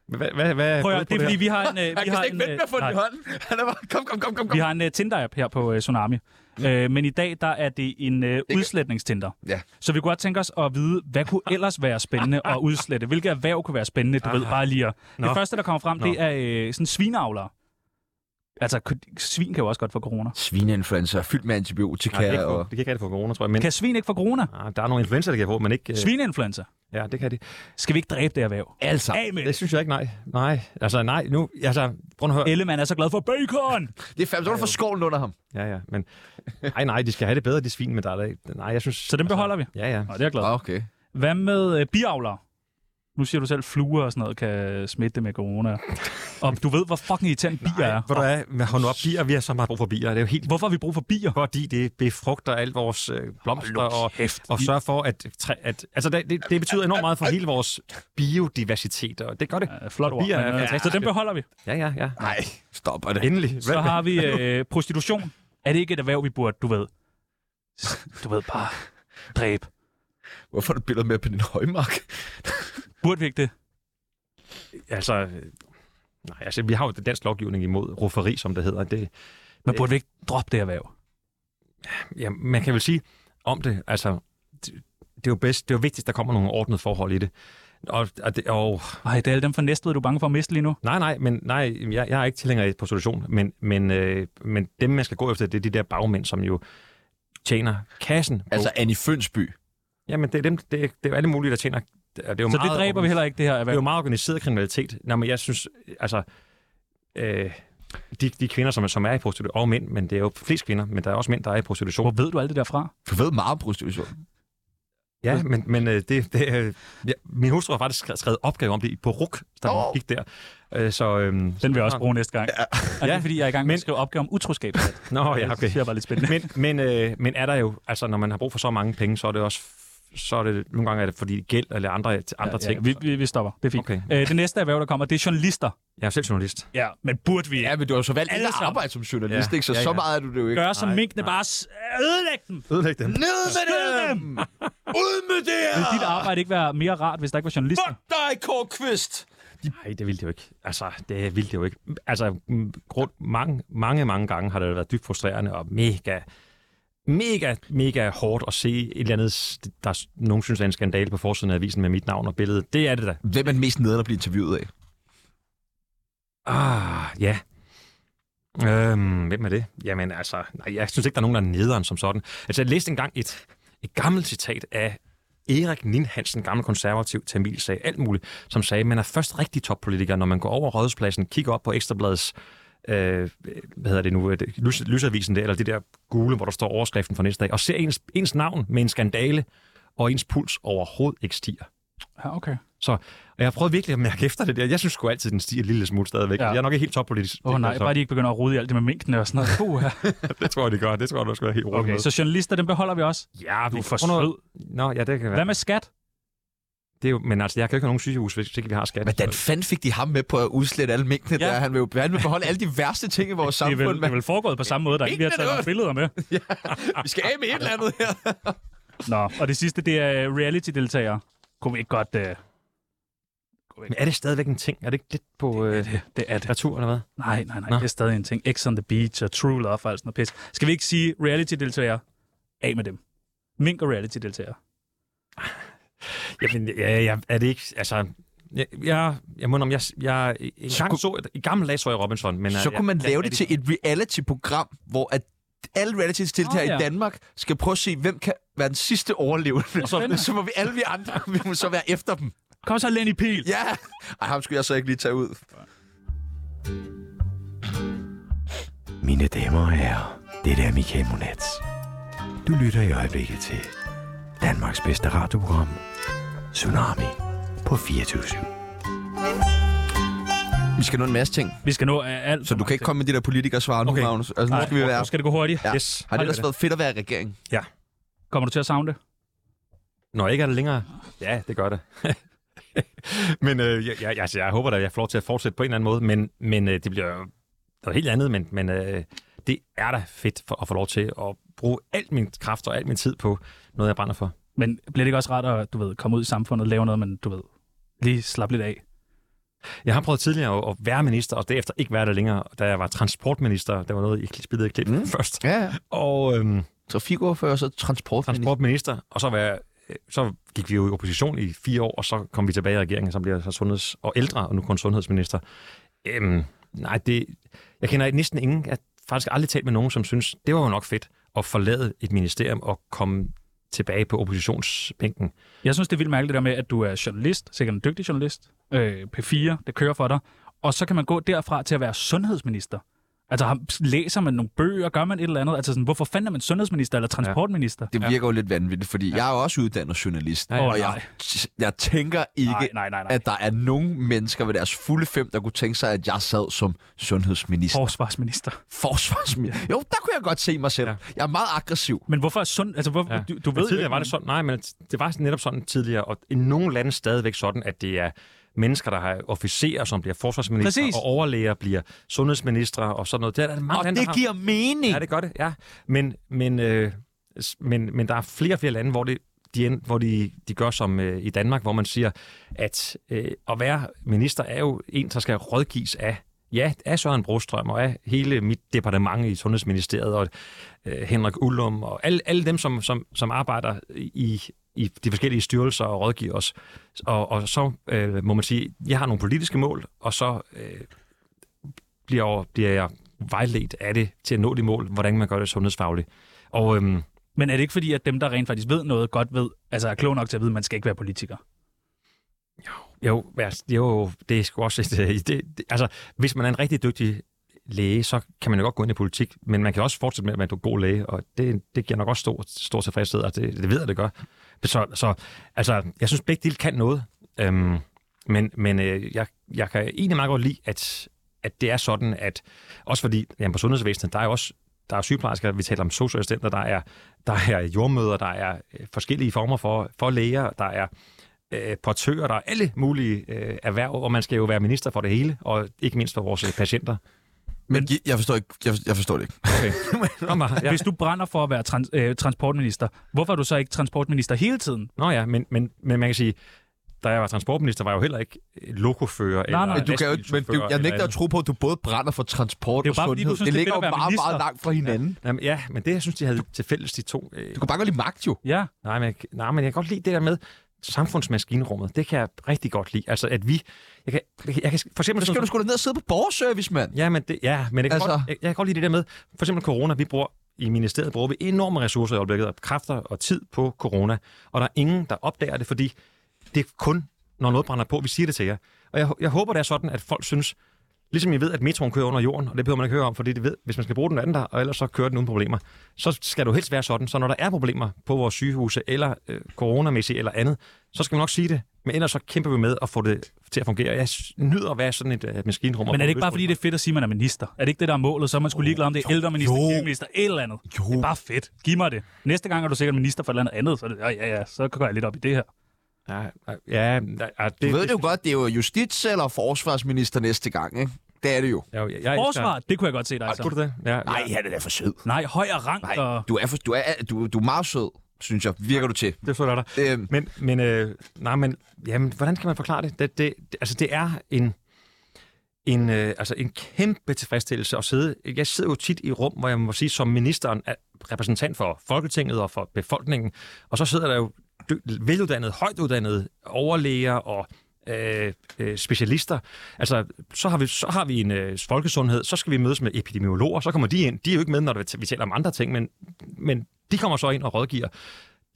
S6: hvad, hvad, hvad
S4: Prøv at, høre, det er fordi, vi har en... øh,
S10: Han
S4: vi
S10: kan
S4: har
S10: slet ikke
S4: en,
S10: vente med at
S4: øh,
S10: få den
S4: nej.
S10: i hånden. <laughs> Han er bare, kom, kom, kom, kom, kom.
S4: Vi har en uh, Tinder-app her på uh, Tsunami. Uh, men i dag der er det en uh, udslætningstinder.
S10: Ja.
S4: Så vi kunne godt tænke os at vide, hvad kunne ellers være <laughs> spændende at udslette? Hvilke erhverv kunne være spændende, du ved, bare lige at...
S6: Nå.
S4: Det første, der kommer frem, det er uh, sådan svineavlere. Altså, kunne- svin kan jo også godt få corona.
S10: Svineinfluencer, fyldt med
S6: Nej, det, kan
S10: antibiotika.
S6: ikke få,
S10: og...
S6: det kan ikke rigtig få corona, tror jeg. Men,
S4: Kan svin ikke få corona?
S6: ah, der er nogle influencer, der kan få, men ikke... øh,
S4: Svineinfluenza.
S6: Ja, det kan de.
S4: Skal vi ikke dræbe det erhverv?
S10: Altså,
S4: Af med
S6: Det
S4: det.
S6: synes jeg ikke, nej. Nej, altså nej, nu... Altså, prøv at høre.
S4: Ellemann er så glad for bacon!
S10: det er fandme, så kan du få skålen under ham.
S6: Ja, ja, men... Nej, nej, de skal have det bedre, de svin, men der er der... Nej, jeg synes...
S4: Så den beholder vi.
S6: Ja, ja.
S4: Altså. Nå, det er jeg glad.
S10: Nå,
S4: for.
S10: Ah, Okay.
S4: Hvad med øh, biavlere? Nu siger du selv, fluer og sådan noget kan smitte det med corona. Og du ved, hvor fucking irriterende bier er.
S6: Ved du hvad, Men hold nu op, bier, vi har så meget brug for bier. Det er jo helt
S4: Hvorfor har vi brug for bier?
S6: fordi det befrugter alt vores øh, blomster
S4: Hold nu
S6: og,
S4: kæft,
S6: og
S4: vi-
S6: sørger for, at, træ, at altså, det, det, det betyder enormt meget for hele vores biodiversitet, og det gør det.
S4: Ja, flot ord.
S6: Bier er
S4: men, øh, Så
S6: fantastiske.
S4: den beholder vi.
S6: Ja, ja, ja.
S10: Nej, stopper det.
S6: Endelig. Hvad?
S4: Så har vi øh, prostitution. Er det ikke et erhverv, vi burde, du ved? Du ved, bare dræbe.
S10: Hvorfor er du billedet med på din højmark?
S4: Burde vi ikke det?
S6: Altså, øh, nej, altså, vi har jo dansk lovgivning imod rufferi, som det hedder. Det,
S4: Men burde vi ikke droppe det erhverv?
S6: ja, man kan vel sige om det, altså, det, det er jo bedst, det er jo vigtigst, der kommer nogle ordnede forhold i det. Og, og, det, og
S4: Ej, det er alle dem fra Næstved, du er bange for at miste lige nu.
S6: Nej, nej, men nej, jeg, jeg er ikke tilhænger af prostitution, men, men, øh, men dem, man skal gå efter, det er de der bagmænd, som jo tjener kassen. På.
S10: Altså, Annie Fønsby.
S6: Jamen, det er, dem, det, er, det er alle mulige, der tjener... Det er jo
S4: Så
S6: meget
S4: det dræber vi heller ikke, det her
S6: Det er jo
S4: erhverv.
S6: meget organiseret kriminalitet. Nej, men jeg synes, altså... Øh, de, de kvinder, som, er- som er i prostitution, og mænd, men det er jo flest kvinder, men der er også mænd, der er i prostitution.
S4: Hvor ved du alt det der fra?
S10: Du ved meget om prostitution.
S6: Ja, men, men øh, det, det, øh, ja, min hustru har faktisk skrevet- skrevet opgave om det på RUK, der
S10: Åh.
S6: oh. gik der. Øh, så, øh,
S4: Den vil jeg også bruge næste gang. Ja. Og det er,
S6: Ja.
S4: fordi jeg er i gang med
S6: Men-
S4: at skrive opgave om utroskab.
S6: Nå, <laughs> ja, okay.
S4: Det synes jeg var lidt spændende.
S6: men, men, øh, men er der jo, altså når man har brug for så mange penge, så er det også, så er det, nogle gange er det fordi gæld eller andre, andre ja, ting.
S4: Ja, vi, vi, vi stopper. Det er fint.
S6: Okay.
S4: Øh, det næste erhverv, der kommer, det er journalister.
S6: Jeg er selv journalist.
S4: Ja, men burde vi
S10: Ja, men du har jo så valgt
S4: Alle
S10: ikke at
S4: sammen.
S10: arbejde som journalist,
S6: Ja,
S10: ikke? Så
S6: ja,
S10: så
S6: ja.
S10: meget er du det jo ikke.
S4: gøre som
S6: Nej,
S4: minkene
S6: nej.
S4: bare s- ødelægge dem?
S6: Ødelæg dem.
S10: Ned med
S4: Skyd dem!
S10: Ud med det her!
S4: Ville dit arbejde ikke være mere rart, hvis der ikke var journalister?
S10: Fuck dig, Kåre Kvist!
S6: Nej, det ville det jo ikke. Altså, det ville det jo ikke. Altså, mm, grund, mange, mange, mange gange har det været dybt frustrerende og mega, mega, mega hårdt at se et eller andet, s- der s- nogen synes er en skandale på forsiden af avisen med mit navn og billede. Det er det da.
S10: Hvem er den mest nederen at blive interviewet af?
S6: Ah, ja. Øhm, hvem er det? Jamen altså, nej, jeg synes ikke, der er nogen, der er nederen som sådan. Altså, jeg læste engang et, et gammelt citat af Erik Ninhansen, gammel konservativ Tamil, sagde alt muligt, som sagde, man er først rigtig toppolitiker, når man går over Rådhuspladsen, kigger op på Ekstrabladets øh, hvad hedder det nu, øh, lys, lysavisen der, eller det der gule, hvor der står overskriften for næste dag, og ser ens, ens navn med en skandale, og ens puls overhovedet ikke stiger.
S4: Ja, okay.
S6: Så og jeg har prøvet virkelig at mærke <laughs> efter det der. Jeg synes sgu altid, den stiger en lille smule stadigvæk.
S4: Ja.
S6: Ja. Jeg er nok ikke helt toppolitisk.
S4: Åh oh, nej,
S6: <laughs> så-
S4: bare de ikke begynder at rode i alt det med minkene og sådan noget. Puh,
S6: det tror jeg, det gør. Det tror jeg, du skal være helt rolig
S4: okay,
S6: med.
S4: så journalister, dem beholder vi også.
S6: Ja,
S4: du er
S6: vi-
S4: for
S6: Hvornår-
S4: sød.
S6: Nå, ja, det kan være.
S4: Hvad med skat?
S6: Det er jo, men altså, jeg kan jo ikke have nogen sygehus, hvis ikke vi har skat.
S4: øh,
S1: Hvordan fanden fik de ham med på at udslette alle minkene
S6: Ja.
S1: ja. der? Han vil jo han vil beholde alle de værste ting i vores
S4: <laughs> Det er,
S1: samfund.
S4: vel, det er
S1: mand.
S4: vel foregået på samme måde, der ikke vi har taget nogle billeder med.
S1: Vi skal af med et eller andet her.
S4: Nå, og det sidste, det er øh, reality-deltagere. Kunne vi ikke godt... Uh...
S6: Men er det stadigvæk en ting? Er det ikke lidt på det er det.
S4: Det er det.
S6: natur eller hvad?
S4: Nej, nej, nej,
S6: Nå.
S4: det er stadig en ting. X on the Beach og True Love og alt sådan noget pis. Skal vi ikke sige reality-deltagere? Af med dem. Mink og reality-deltagere.
S6: Jamen, ja, ja, er det ikke... Altså, jeg, jeg, jeg må om jeg, jeg, en gang så, i gamle dage så jeg Robinson, men...
S1: Så
S6: øh,
S1: kunne man
S6: ja,
S1: lave
S6: er
S1: det til et reality-program, hvor at alle realities-deltagere
S4: Åh,
S1: oh,
S4: ja.
S1: ja. i Danmark skal prøve at se, hvem kan være den sidste overlevende. <laughs>
S4: spændende.
S1: Så, så må vi alle vi andre vi må så være efter dem.
S4: Kom så, Lenny Pil!
S1: Ja! Ej, ham skulle jeg så ikke lige tage ud.
S9: Mine damer og herrer, det er Michael Monats. Du lytter i øjeblikket til Danmarks bedste radioprogram, Tsunami på 24
S1: Vi skal nå en masse ting.
S4: Vi skal nå øh, alt.
S1: Så du kan ikke komme med de der politikere svar nu,
S4: Okay.
S1: okay. Magnus. Altså, nu
S4: Nej,
S1: skal vi være...
S4: nu skal det gå hurtigt.
S1: Ja.
S6: Yes.
S1: Har
S6: Hold
S1: det
S6: da.
S1: ellers været fedt at være i regering?
S6: Ja.
S4: Kommer du til at savne det?
S6: Nå, ikke er det længere? Ja, det gør det. <laughs> men øh, jeg, jeg, altså, jeg håber da, jeg får lov til at fortsætte på en eller anden måde, men, men øh, det bliver jo noget helt andet, men, men øh, det er da fedt for, at få lov til at bruge alt min kraft og al min tid på noget, jeg brænder for.
S4: Men bliver det ikke også rart at, du ved, komme ud i samfundet og lave noget, men du ved, lige slappe lidt af?
S6: Jeg har prøvet tidligere at- at være minister, og derefter ikke være der længere, da jeg var transportminister. Der var noget, I spillede klip mm. <laughs> først.
S1: Ja, ja.
S6: Og øhm,
S1: Trafikordfører, så transportminister.
S6: transportminister, og så, var jeg, øh, så gik vi jo i opposition i fire år, og så kom vi tilbage i regeringen, som bliver jeg så sundheds- og ældre, og nu kun sundhedsminister. Øhm, nej, det, jeg kender næsten ingen, jeg har faktisk aldrig talt med nogen, som synes, det var jo nok fedt at forlade et ministerium og komme tilbage på oppositionsbænken.
S4: Jeg synes, det er vildt mærkeligt det der med, at du er journalist, sikkert en dygtig journalist, øh, P4, det kører for dig, og så kan man gå derfra til at være sundhedsminister. Altså, ham- læser man nogle bøger, gør man et eller andet? Altså, sådan, hvorfor fanden er man sundhedsminister eller transportminister?
S1: Det virker jo lidt vanvittigt, fordi ja. jeg er jo også uddannet journalist,
S4: Ja, ja. Åh,
S1: og
S4: nej.
S1: jeg, jeg tænker ikke,
S4: Nej, nej, nej, nej.
S1: at der er nogen mennesker ved deres fulde fem, der kunne tænke sig, at jeg sad som sundhedsminister.
S4: Forsvarsminister.
S1: Forsvarsminister. Jo, der kunne jeg godt se mig selv. Ja. Jeg er meget aggressiv.
S4: Men hvorfor er sund... Altså, hvor, ja. du, du ved jo
S6: tidligere
S4: ikke,
S6: var det sådan, nej, men det var netop sådan tidligere, og i nogle lande stadigvæk sådan, at det er mennesker, der har officerer, som bliver forsvarsminister,
S4: Præcis.
S6: og overlæger bliver sundhedsministre og sådan noget. Det er der mange
S1: Og
S6: lande,
S1: det
S6: der
S1: giver mening.
S6: Har. Ja, det gør det, ja. Men, men, øh, s- men, men der er flere og flere lande, hvor det de, end- hvor de, de gør som øh, i Danmark, hvor man siger, at øh, at være minister er jo en, der skal rådgives af, ja, af Søren Brostrøm og af hele mit departement i Sundhedsministeriet og øh, Henrik Ullum og alle, alle dem, som, som, som arbejder i, i de forskellige styrelser og rådgiver os. Og, og så øh, må man sige, jeg har nogle politiske mål, og så øh, bliver, over, bliver jeg vejledt af det til at nå de mål, hvordan man gør det sundhedsfagligt. Og øhm,
S4: Men er det ikke fordi, at dem, der rent faktisk ved noget, godt ved, altså er klog nok til at vide, at man skal ikke være politiker?
S6: jo, altså, jo, det er sgu også et... øh, Det, det, altså, hvis man er en rigtig dygtig læge, så kan man jo godt gå ind i politik, men man kan også fortsætte med at være en god læge, og det, det giver nok også stor, stor tilfredshed, og det, det ved jeg, det gør. Så, så altså, jeg synes, begge dele kan noget, øhm, men, men øh, jeg, jeg kan egentlig meget godt lide, at, at det er sådan, at også fordi jamen, på sundhedsvæsenet, der er jo også der er sygeplejersker, vi taler om socialassistenter, der er, der er jordmøder, der er øh, forskellige former for, for læger, der er øh, portører, der er alle mulige øh, erhverv, og man skal jo være minister for det hele, og ikke mindst for vores øh,
S1: <laughs>
S6: patienter.
S1: Men gi- jeg forstår, ikke, jeg, forstår, jeg forstår det ikke.
S6: Okay. Kom bare,
S4: Ja.
S6: ja.
S4: Hvis du brænder for at være trans, øh, transportminister, hvorfor er du så ikke transportminister hele tiden?
S6: Nå ja, men, men, men man kan sige, da jeg var transportminister, var jeg jo heller ikke øh, lokofører eller
S4: nej.
S1: Men du kan jo, men du,
S6: lastbilchauffør
S1: jeg
S6: eller
S1: nægter
S6: andet.
S1: at tro på, at du både brænder for transport
S4: Det er jo
S1: og
S4: bare fordi, du
S1: sundhed.
S4: synes,
S1: det
S4: det er
S1: ligger
S4: fedt
S1: jo
S4: at være
S1: meget, meget
S4: minister.
S1: langt fra hinanden. Ja.
S6: Jamen, ja, men det, jeg synes, de havde til fælles, de to... Øh,
S1: Du kan bare godt lide magt, jo.
S4: Ja,
S6: nej, men, jeg- nej, men jeg kan godt lide det der med, samfundsmaskinerummet, det kan jeg rigtig godt lide. Altså, at vi... Jeg kan, jeg kan, jeg kan for eksempel...
S1: Så skal du sgu da ned og sidde på borgerservice, mand.
S6: Ja, men, det, ja, men jeg, kan altså...
S1: Altså.
S6: godt, jeg, jeg kan godt lide det der med, for eksempel corona, vi bruger i ministeriet bruger vi enorme ressourcer i øjeblikket, og kræfter og tid på corona, og der er ingen, der opdager det, fordi det er kun, når noget brænder på, vi siger det til jer. Og jeg, jeg håber, det er sådan, at folk synes, ligesom jeg ved, at metroen kører under jorden, og det behøver man ikke høre om, fordi det ved, hvis man skal bruge den anden der, og ellers så kører den uden problemer, så skal du helst være sådan, så når der er problemer på vores sygehuse, eller øh, coronamæssigt eller andet, så skal man nok sige det, men ellers så kæmper vi med at få det til at fungere. Jeg s- nyder at være sådan et øh, maskinrum. og
S4: Men er
S6: få
S4: det ikke bare, fordi det er fedt at sige, at man er minister? Er det ikke det, der er målet? Så er man skulle ligeglad om det er ældreminister, kirkeminister, et eller andet. Jo. Det er bare fedt. Giv mig det. Næste gang er du sikkert minister for et eller andet andet, så, er det, "Åh, ja, ja, så går jeg lidt op i det her.
S6: Ja, ja, ah, ja
S1: Du ved det jo godt, det er jo justits- eller forsvarsminister næste gang, ikke? Det er det jo.
S6: Jeg, jeg,
S4: Forsvar, det kunne jeg godt se dig som.
S6: det? Ja,
S1: Nej, han er da for sød.
S4: Nej, høj og rang.
S1: Nej,
S4: Og...
S1: du er, for, du, er, du, du er meget sød, synes jeg. Virker du til.
S6: Det føler jeg dig. Øhm. Men, men, øh, nej, men jamen, hvordan kan man forklare det? Det, det, det altså, det er en, en, øh, altså, en kæmpe tilfredsstillelse at sidde. Jeg sidder jo tit i rum, hvor jeg må sige, som ministeren er repræsentant for Folketinget og for befolkningen, og så sidder der jo dy- veluddannede, højtuddannede overlæger og øh, øh, specialister. Altså, så har vi, så har vi en øh, folkesundhed, så skal vi mødes med epidemiologer, så kommer de ind. De er jo ikke med, når det- vi taler om andre ting, men, men de kommer så ind og rådgiver.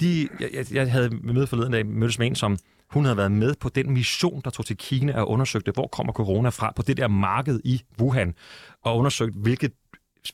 S6: De, jeg- jeg, jeg havde møde forleden dag, mødtes med en, som hun havde været med på den mission, der tog til Kina og undersøgte, hvor kommer corona fra, på det der marked i Wuhan, og undersøgte, hvilket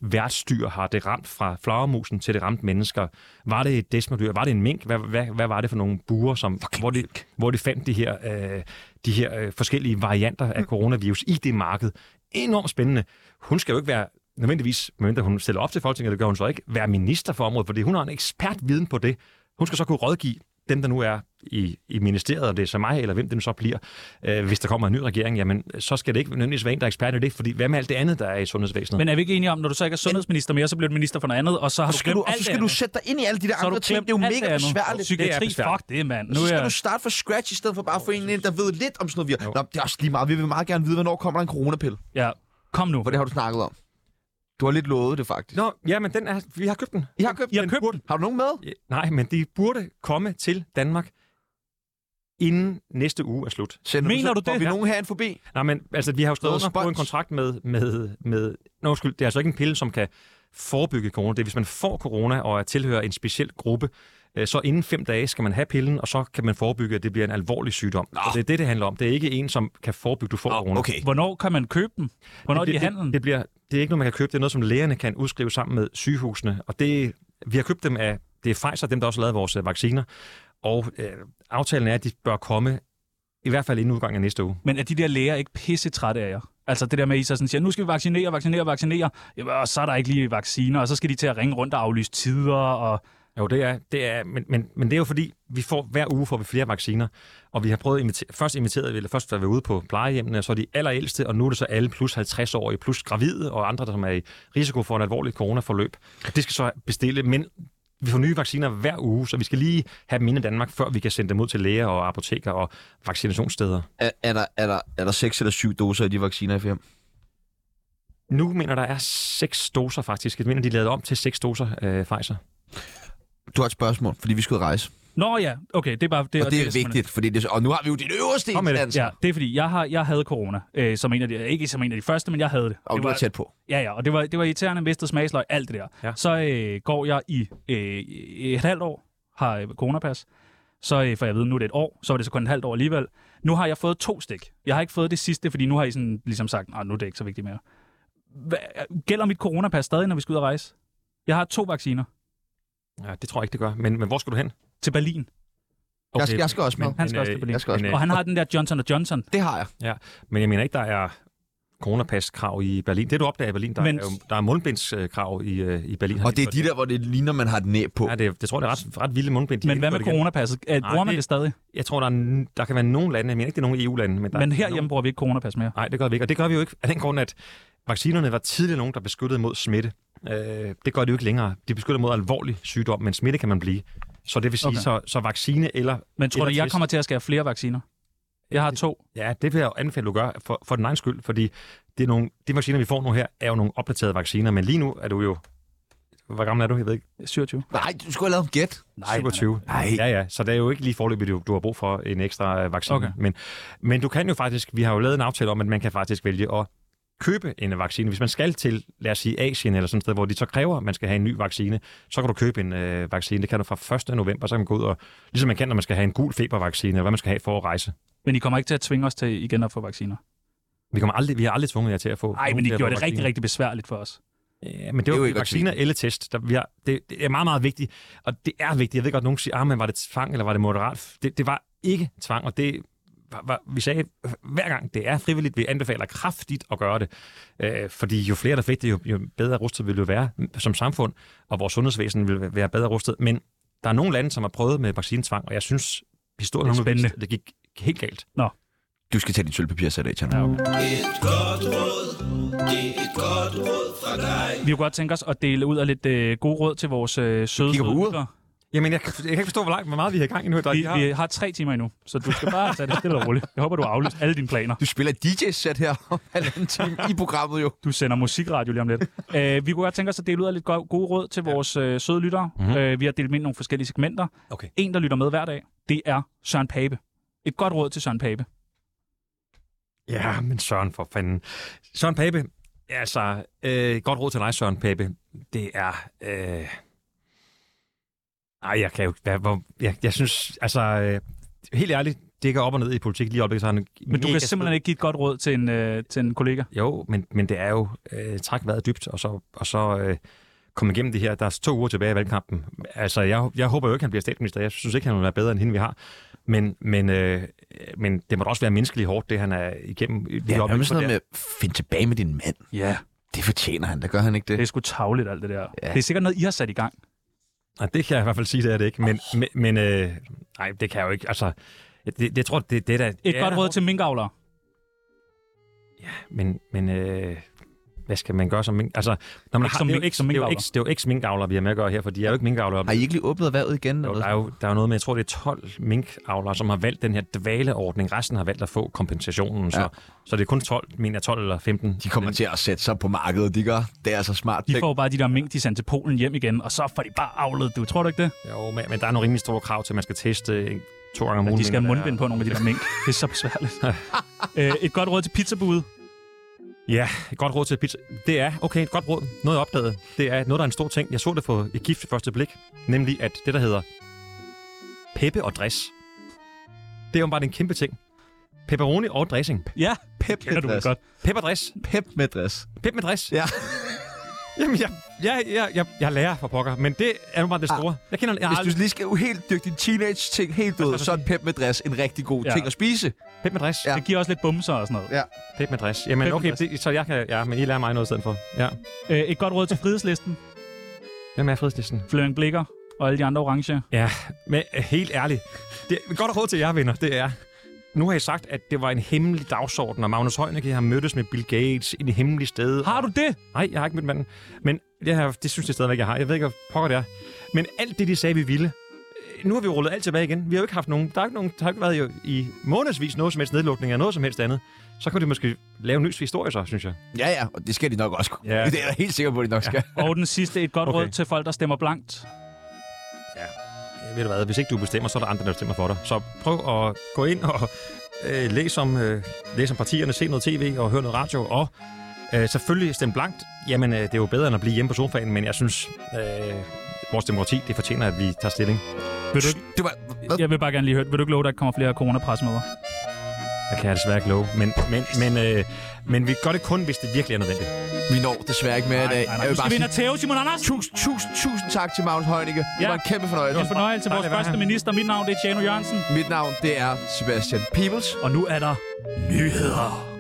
S6: værtsdyr har det ramt fra flagermusen til det ramte mennesker? Var det et desmodyr? Var det en mink? Hvad, hvad, hvad var det for nogle buer, som, hvor, de, hvor de fandt de her, øh, de her øh, forskellige varianter af coronavirus i det marked? Enormt spændende. Hun skal jo ikke være nødvendigvis, medmindre hun stiller op til Folketinget, det gør hun så ikke, være minister for området, fordi hun har en ekspertviden på det. Hun skal så kunne rådgive dem, der nu er i, i ministeriet, om det er så mig, eller hvem det nu så bliver, øh, hvis der kommer en ny regering, jamen, så skal det ikke nødvendigvis være en, der er ekspert i det, fordi hvad med alt det andet, der er i sundhedsvæsenet?
S4: Men er vi ikke enige om, når du så ikke er sundhedsminister mere, så bliver du minister for noget andet, og så har
S1: Og
S4: du
S1: så skal
S4: glemt
S1: du, og
S4: alt
S1: så
S4: det
S1: skal du
S4: andet.
S1: sætte dig ind i alle de der
S4: Så har
S1: andre
S4: du
S1: ting.
S4: glemt
S1: Det er jo
S4: alt det
S1: mega
S4: andet.
S1: besværligt.
S4: Psykiatri,
S1: besværligt.
S4: fuck det, mand.
S1: Og
S4: Nu
S1: så
S4: er
S1: skal
S4: jeg-
S1: du starte fra scratch, i stedet for bare at få en ind, der ved lidt om sådan noget. Vi... Nå, det er også lige meget. Vi vil meget gerne vide, hvornår kommer der en coronapille.
S4: Ja, kom nu.
S1: For det har du snakket om. Du har lidt lovet det, faktisk.
S6: Nå, ja, men den er, vi har købt den.
S1: I har købt
S4: I har købt den.
S1: Har du nogen med?
S6: Ja, Nej, men de burde komme til Danmark inden næste uge er slut.
S1: Sender
S4: Mener
S1: så-
S4: du
S1: Får
S4: det?
S1: vi
S4: Ja.
S1: nogen her en forbi?
S6: Nej, men altså, vi har jo skrevet
S1: Noget
S6: under på en
S1: spons.
S6: kontrakt med... med, med Nå, undskyld, det er altså ikke en pille, som kan forebygge corona. Det er, hvis man får corona og er tilhører en speciel gruppe, øh, så inden fem dage skal man have pillen, og så kan man forebygge, at det bliver en alvorlig sygdom. Nå. Så det er det, det handler om. Det er ikke en, som kan forebygge, du får Nå, corona.
S1: Okay.
S4: Hvornår kan man købe dem? Hvornår er de i
S6: det,
S4: handlen?
S6: Det, det, bliver, det er ikke noget, man kan købe. Det er noget, som lægerne kan udskrive sammen med sygehusene. Og det, vi har købt dem af, det er Pfizer, dem der også har lavet vores øh, vacciner. Og øh, aftalen er, at de bør komme i hvert fald inden udgangen af næste uge.
S4: Men er de der læger ikke pisse trætte af jer? Altså det der med, at I så sådan siger, nu skal vi vaccinere, vaccinere, vaccinere, Jamen, og så er der ikke lige vacciner, og så skal de til at ringe rundt og aflyse tider, og
S6: Jo, det er, det er men, men, men det er jo fordi, vi får, hver uge får vi flere vacciner, og vi har prøvet at invitere, først inviteret, eller først var vi ude på plejehjemmene, og så de allerældste, og nu er det så alle plus 50 år, plus gravide og andre, der som er i risiko for et alvorligt coronaforløb. Det skal så bestille, men vi får nye vacciner hver uge, så vi skal lige have dem inde i Danmark, før vi kan sende dem ud til læger og apoteker og vaccinationssteder.
S1: Er, er, der, er, der, er der 6 eller 7 doser i de vacciner, FM?
S6: Nu mener der er seks doser faktisk. Jeg mener, de lavede om til seks doser, øh, Pfizer.
S1: Du har et spørgsmål, fordi vi skulle rejse.
S4: Nå ja, okay, det er bare...
S1: Det, og det er vigtigt, fordi det, og nu har vi jo din øverste
S4: Kom med det.
S1: instans.
S4: Ja, det er fordi, jeg, har, jeg havde corona, øh, som en af de, ikke som en af de første, men jeg havde det.
S1: Og
S4: det
S1: du er tæt på.
S4: Ja, ja, og det var, det var irriterende, mistet smagsløg, alt det der.
S6: Ja.
S4: Så øh, går jeg i øh, et halvt år, har øh, coronapas, så øh, for jeg ved, nu er det et år, så var det så kun et halvt år alligevel. Nu har jeg fået to stik. Jeg har ikke fået det sidste, fordi nu har I sådan, ligesom sagt, at nu er det ikke så vigtigt mere. Hva, gælder mit coronapas stadig, når vi skal ud og rejse? Jeg har to vacciner
S6: Ja, det tror jeg ikke, det gør. Men, men hvor skal du hen?
S4: til Berlin.
S1: Jeg skal- jeg skal også med.
S6: men-
S4: Han skal
S6: men,
S4: også til
S6: øh,
S4: Berlin.
S1: Jeg skal også
S6: men,
S1: med.
S6: øh,
S4: Og han har den der Johnson Johnson.
S1: Det har jeg.
S6: Ja, men jeg mener ikke, der er coronapas-krav i Berlin. Det, du opdager i Berlin, der,
S4: Men-
S6: men... er, jo- der er mundbindskrav i, øh, i Berlin.
S1: Og det er de der, hvor det ligner, man har et næb på.
S6: Ja, det, det tror jeg, det er ret, ret vilde mundbind. de
S4: Men hvad
S6: indførte
S4: med
S6: igen.
S4: coronapasset? Er-
S6: Nej,
S4: Bruger man
S6: det-
S4: det stadig?
S6: Jeg tror, der, er, n- der kan være nogle lande, jeg mener ikke, det er nogle EU-lande. Men, der
S4: Men
S6: er
S4: herhjemme bruger vi ikke coronapas mere.
S6: Nej, det gør vi ikke. Og det gør vi jo ikke af den grund, at vaccinerne var tidligere nogen, der beskyttede mod smitte. Øh, det gør de jo ikke længere. De beskytter mod alvorlig sygdom, men smitte kan man blive. Så det vil sige,
S4: Okay.
S6: okay. så, så vaccine eller
S4: Men tror
S6: eller
S4: du, jeg
S6: test-
S4: kommer til at skære flere vacciner? Jeg har to.
S6: Ja, det vil jeg jo anbefale, at du gør for, for din egen skyld, fordi det er nogle, de vacciner, vi får nu her, er jo nogle opdaterede vacciner, men lige nu er du jo Hvor gammel er du? Jeg ved ikke.
S4: 27.
S6: Nej, du skulle have lavet en gæt. Nej. 27. Nej. Ja, ja. Så det er jo ikke lige forløbet, du, du har brug for en ekstra øh, vaccine.
S4: Okay.
S6: Men, men du kan jo faktisk, vi har jo lavet en aftale om, at man kan faktisk vælge at købe en vaccine. Hvis man skal til, lad os sige, Asien eller sådan et sted, hvor de så kræver, at man skal have en ny vaccine, så kan du købe en øh, vaccine. Det kan du fra 1. november, så kan man gå ud og, ligesom man kan, når man skal have en gul febervaccine, eller hvad man skal have for at rejse.
S4: Men I kommer ikke til at tvinge os til igen at få vacciner?
S6: Vi, kommer aldrig, vi har aldrig tvunget jer til at få...
S4: Nej,
S6: nogen
S4: men I
S6: til at få
S4: gjorde det rigtig,
S6: vacciner.
S4: rigtig besværligt for os.
S6: Ja, Øh, men det, var det er jo vacciner eller test. Der, vi har, det, det, er meget, meget vigtigt. Og det er vigtigt. Jeg ved godt, nogen siger, ah, men var det tvang, eller var det moderat? Det, det var ikke tvang, og det var, var, vi sagde hver gang, det er frivilligt. Vi anbefaler kraftigt at gøre det. Øh, fordi jo flere, der fik det, jo, jo bedre rustet vil vi jo være som samfund, og vores sundhedsvæsen vil være bedre rustet. Men der er nogle lande, som har prøvet med vaccinetvang, og jeg synes, historien
S4: Det er
S6: har nu vist,
S4: spændende.
S6: at det gik helt galt.
S4: Nå.
S1: Du skal tage din sølvpapirsæt af, Tjerno. Ja, okay.
S7: Et godt råd, det er et godt råd fra dig.
S4: Vi kunne godt tænke os at dele ud af lidt øh, gode råd til vores øh, søde
S6: kigger på uret.
S4: lyttere.
S6: Jamen, jeg, jeg kan ikke forstå, hvor, langt, hvor meget vi har i gang endnu. Der,
S4: Vi, vi har tre timer endnu, så du skal bare tage det stille og roligt. Jeg håber, du har aflyst alle dine planer.
S1: Du spiller DJ-sæt her om <laughs> halvanden time i programmet jo.
S4: Du sender musikradio lige om lidt. uh, vi kunne godt tænke os at dele ud af lidt go- gode råd til vores øh, søde lyttere.
S6: Mhm.
S4: Mm-hmm. Øh, vi har delt dem ind i nogle forskellige segmenter.
S6: Okay.
S4: En, der lytter med hver dag, det er Søren Pape. Et godt råd til Søren Pape.
S6: Ja, men Søren for fanden. Søren Pape, altså, øh, godt råd til dig, Søren Pape. Det er... Øh... Ej, jeg kan jo... Jeg, hvor, jeg, jeg synes, altså... Øh, helt ærligt, det går op og ned i politik lige i øjeblikket. Så han
S4: Men du kan simpelthen ikke give et godt råd til en, øh, til en kollega.
S6: Jo, men, men det er jo... Øh, træk vejret dybt, og så, og så øh, komme igennem det her. Der er to uger tilbage i valgkampen. Altså, jeg, jeg håber jo ikke, han bliver statsminister. Jeg synes ikke, han vil være bedre end hende, vi har. Men, men, øh, men det må da også være menneskeligt hårdt, det han er igennem.
S1: Ja,
S6: lige i øjeblikket.
S1: nærmest
S6: For
S1: sådan
S6: det er-
S1: noget med, find tilbage med din mand.
S4: Ja.
S1: Det fortjener han, der gør han ikke det.
S4: Det er sgu tavligt, alt det der. Ja. Det er sikkert noget, I har sat i gang.
S6: Nej, det kan jeg i hvert fald sige, det er det ikke. Men, oh. men, men øh, nej, det kan jeg jo ikke. Altså, det, det jeg tror det, det er da...
S4: Et
S6: ja,
S4: ja, godt råd til minkavlere.
S6: Men, men øh, hvad skal man gøre som mink? Altså, når man
S4: Ikke
S6: har,
S4: som
S6: det er jo
S4: mink-
S6: ikke,
S4: som
S6: det er jo
S4: minkavler.
S6: ikke, det er jo ikke minkavler, vi har med at gøre her, for de er jo ikke minkavlere.
S1: Har I ikke lige åbnet erhvervet igen? Eller
S6: Jo,
S1: noget?
S6: der, er jo, der er jo noget med, jeg tror, det er 12 minkavlere, som har valgt den her dvaleordning. Resten har valgt at få kompensationen, ja. så, så det er kun 12, mener jeg, 12 eller 15.
S1: De kommer til at sætte sig på markedet, de gør. Det er så smart.
S4: De får jo bare de der mink, de sendte til Polen hjem igen, og så får de bare avlet. Du tror du ikke det?
S6: Jo, men, men der er nogle rimelig store krav til, at man skal teste øh, to gange om ugen.
S4: At de skal have
S6: mener jeg.
S4: mundbind på nogle af de der mink. Det er så
S1: <laughs>
S4: besværligt. Øh, et godt råd til pizzabude.
S6: Ja, et godt råd til pizza. Det er, okay, et godt råd. Noget jeg opdagede. Det er noget, der er en stor ting. Jeg så det på et gift ved første blik. Nemlig, at det, der hedder peppe og dress. Det er jo bare en kæmpe ting. Pepperoni og dressing.
S4: Ja,
S1: Pep
S4: kender du vel godt.
S6: Pep og dress.
S1: Pep med dress.
S6: Pep med dress.
S1: Ja.
S6: Jamen, jeg, jeg, jeg, jeg, jeg lærer for pokker, men det er jo bare det store. Jeg kender, jeg har
S1: Ah. Hvis
S6: aldrig...
S1: du lige skal helt dykke din teenage-ting helt ud, så er en pep med dress en rigtig god
S4: Ja.
S1: ting at spise.
S6: Pep med dress.
S1: Ja.
S4: Det giver også lidt bumser og sådan noget.
S1: Ja.
S6: Pep med dress. Jamen,
S4: Pep med
S6: okay,
S4: dress.
S6: det, så jeg kan... Ja, men I lærer mig noget i stedet for. Ja.
S4: Øh, et godt råd til frihedslisten.
S6: Hvem er fredslisten?
S4: Fløring Blikker og alle de andre orange.
S6: Ja, men øh, helt ærligt. Det er godt råd til jer, venner. Det er... Nu har I sagt, at det var en hemmelig dagsorden, og Magnus Heunicke har mødtes med Bill Gates i det hemmelige sted.
S4: Har du det?
S6: Nej, jeg har ikke mødt manden. Men det, her, det synes jeg stadigvæk, jeg har. Jeg ved ikke, hvor pokker det er. Men alt det, de sagde, vi ville, øh, nu har vi rullet alt tilbage igen. Vi har jo ikke haft nogen... Der har ikke, nogen, der har ikke været jo i månedsvis noget som helst nedlukning af noget som helst andet. Så kunne de måske lave en ny historie, så, synes jeg.
S1: Ja, ja, og det skal de nok også kunne.
S6: Ja.
S1: Ja. Det er jeg helt sikker på, at de nok skal.
S4: Og den sidste, et godt
S6: Okay.
S4: okay. råd til folk, der stemmer blankt.
S6: Øh, ved du hvad, hvis ikke du bestemmer, så er der andre, der bestemmer for dig. Så prøv at gå ind og øh, læs, om, øh, læs om partierne, se noget tv og hør noget radio, og øh, selvfølgelig stem blankt. Jamen, øh, det er jo bedre end at blive hjemme på sofaen, men jeg synes, øh, vores demokrati, det fortjener, at vi tager stilling.
S4: Vil du, ikke-
S1: Det var...
S4: jeg vil bare gerne lige høre, vil du ikke love, at der ikke kommer flere coronapresmøder?
S6: Jeg kan jeg desværre ikke love, men, men, men, øh, men vi gør det kun, hvis det virkelig er nødvendigt.
S1: Vi når desværre ikke mere i dag.
S4: Nej,
S1: Jeg
S4: nej,
S1: vil
S4: du skal
S1: bare
S4: vinde at
S1: sige
S4: tæve, Simon Andersen.
S1: tusind, tusind, tusind tak til Magnus Heunicke. Det
S4: Ja.
S1: var en kæmpe fornøjelse.
S4: Det er en fornøjelse. Vores
S6: Dejligt at være
S4: første
S6: her.
S4: minister. Mit navn det er Tjano Jørgensen.
S1: Mit navn, det er Sebastian Peebles.
S4: Og nu er der nyheder.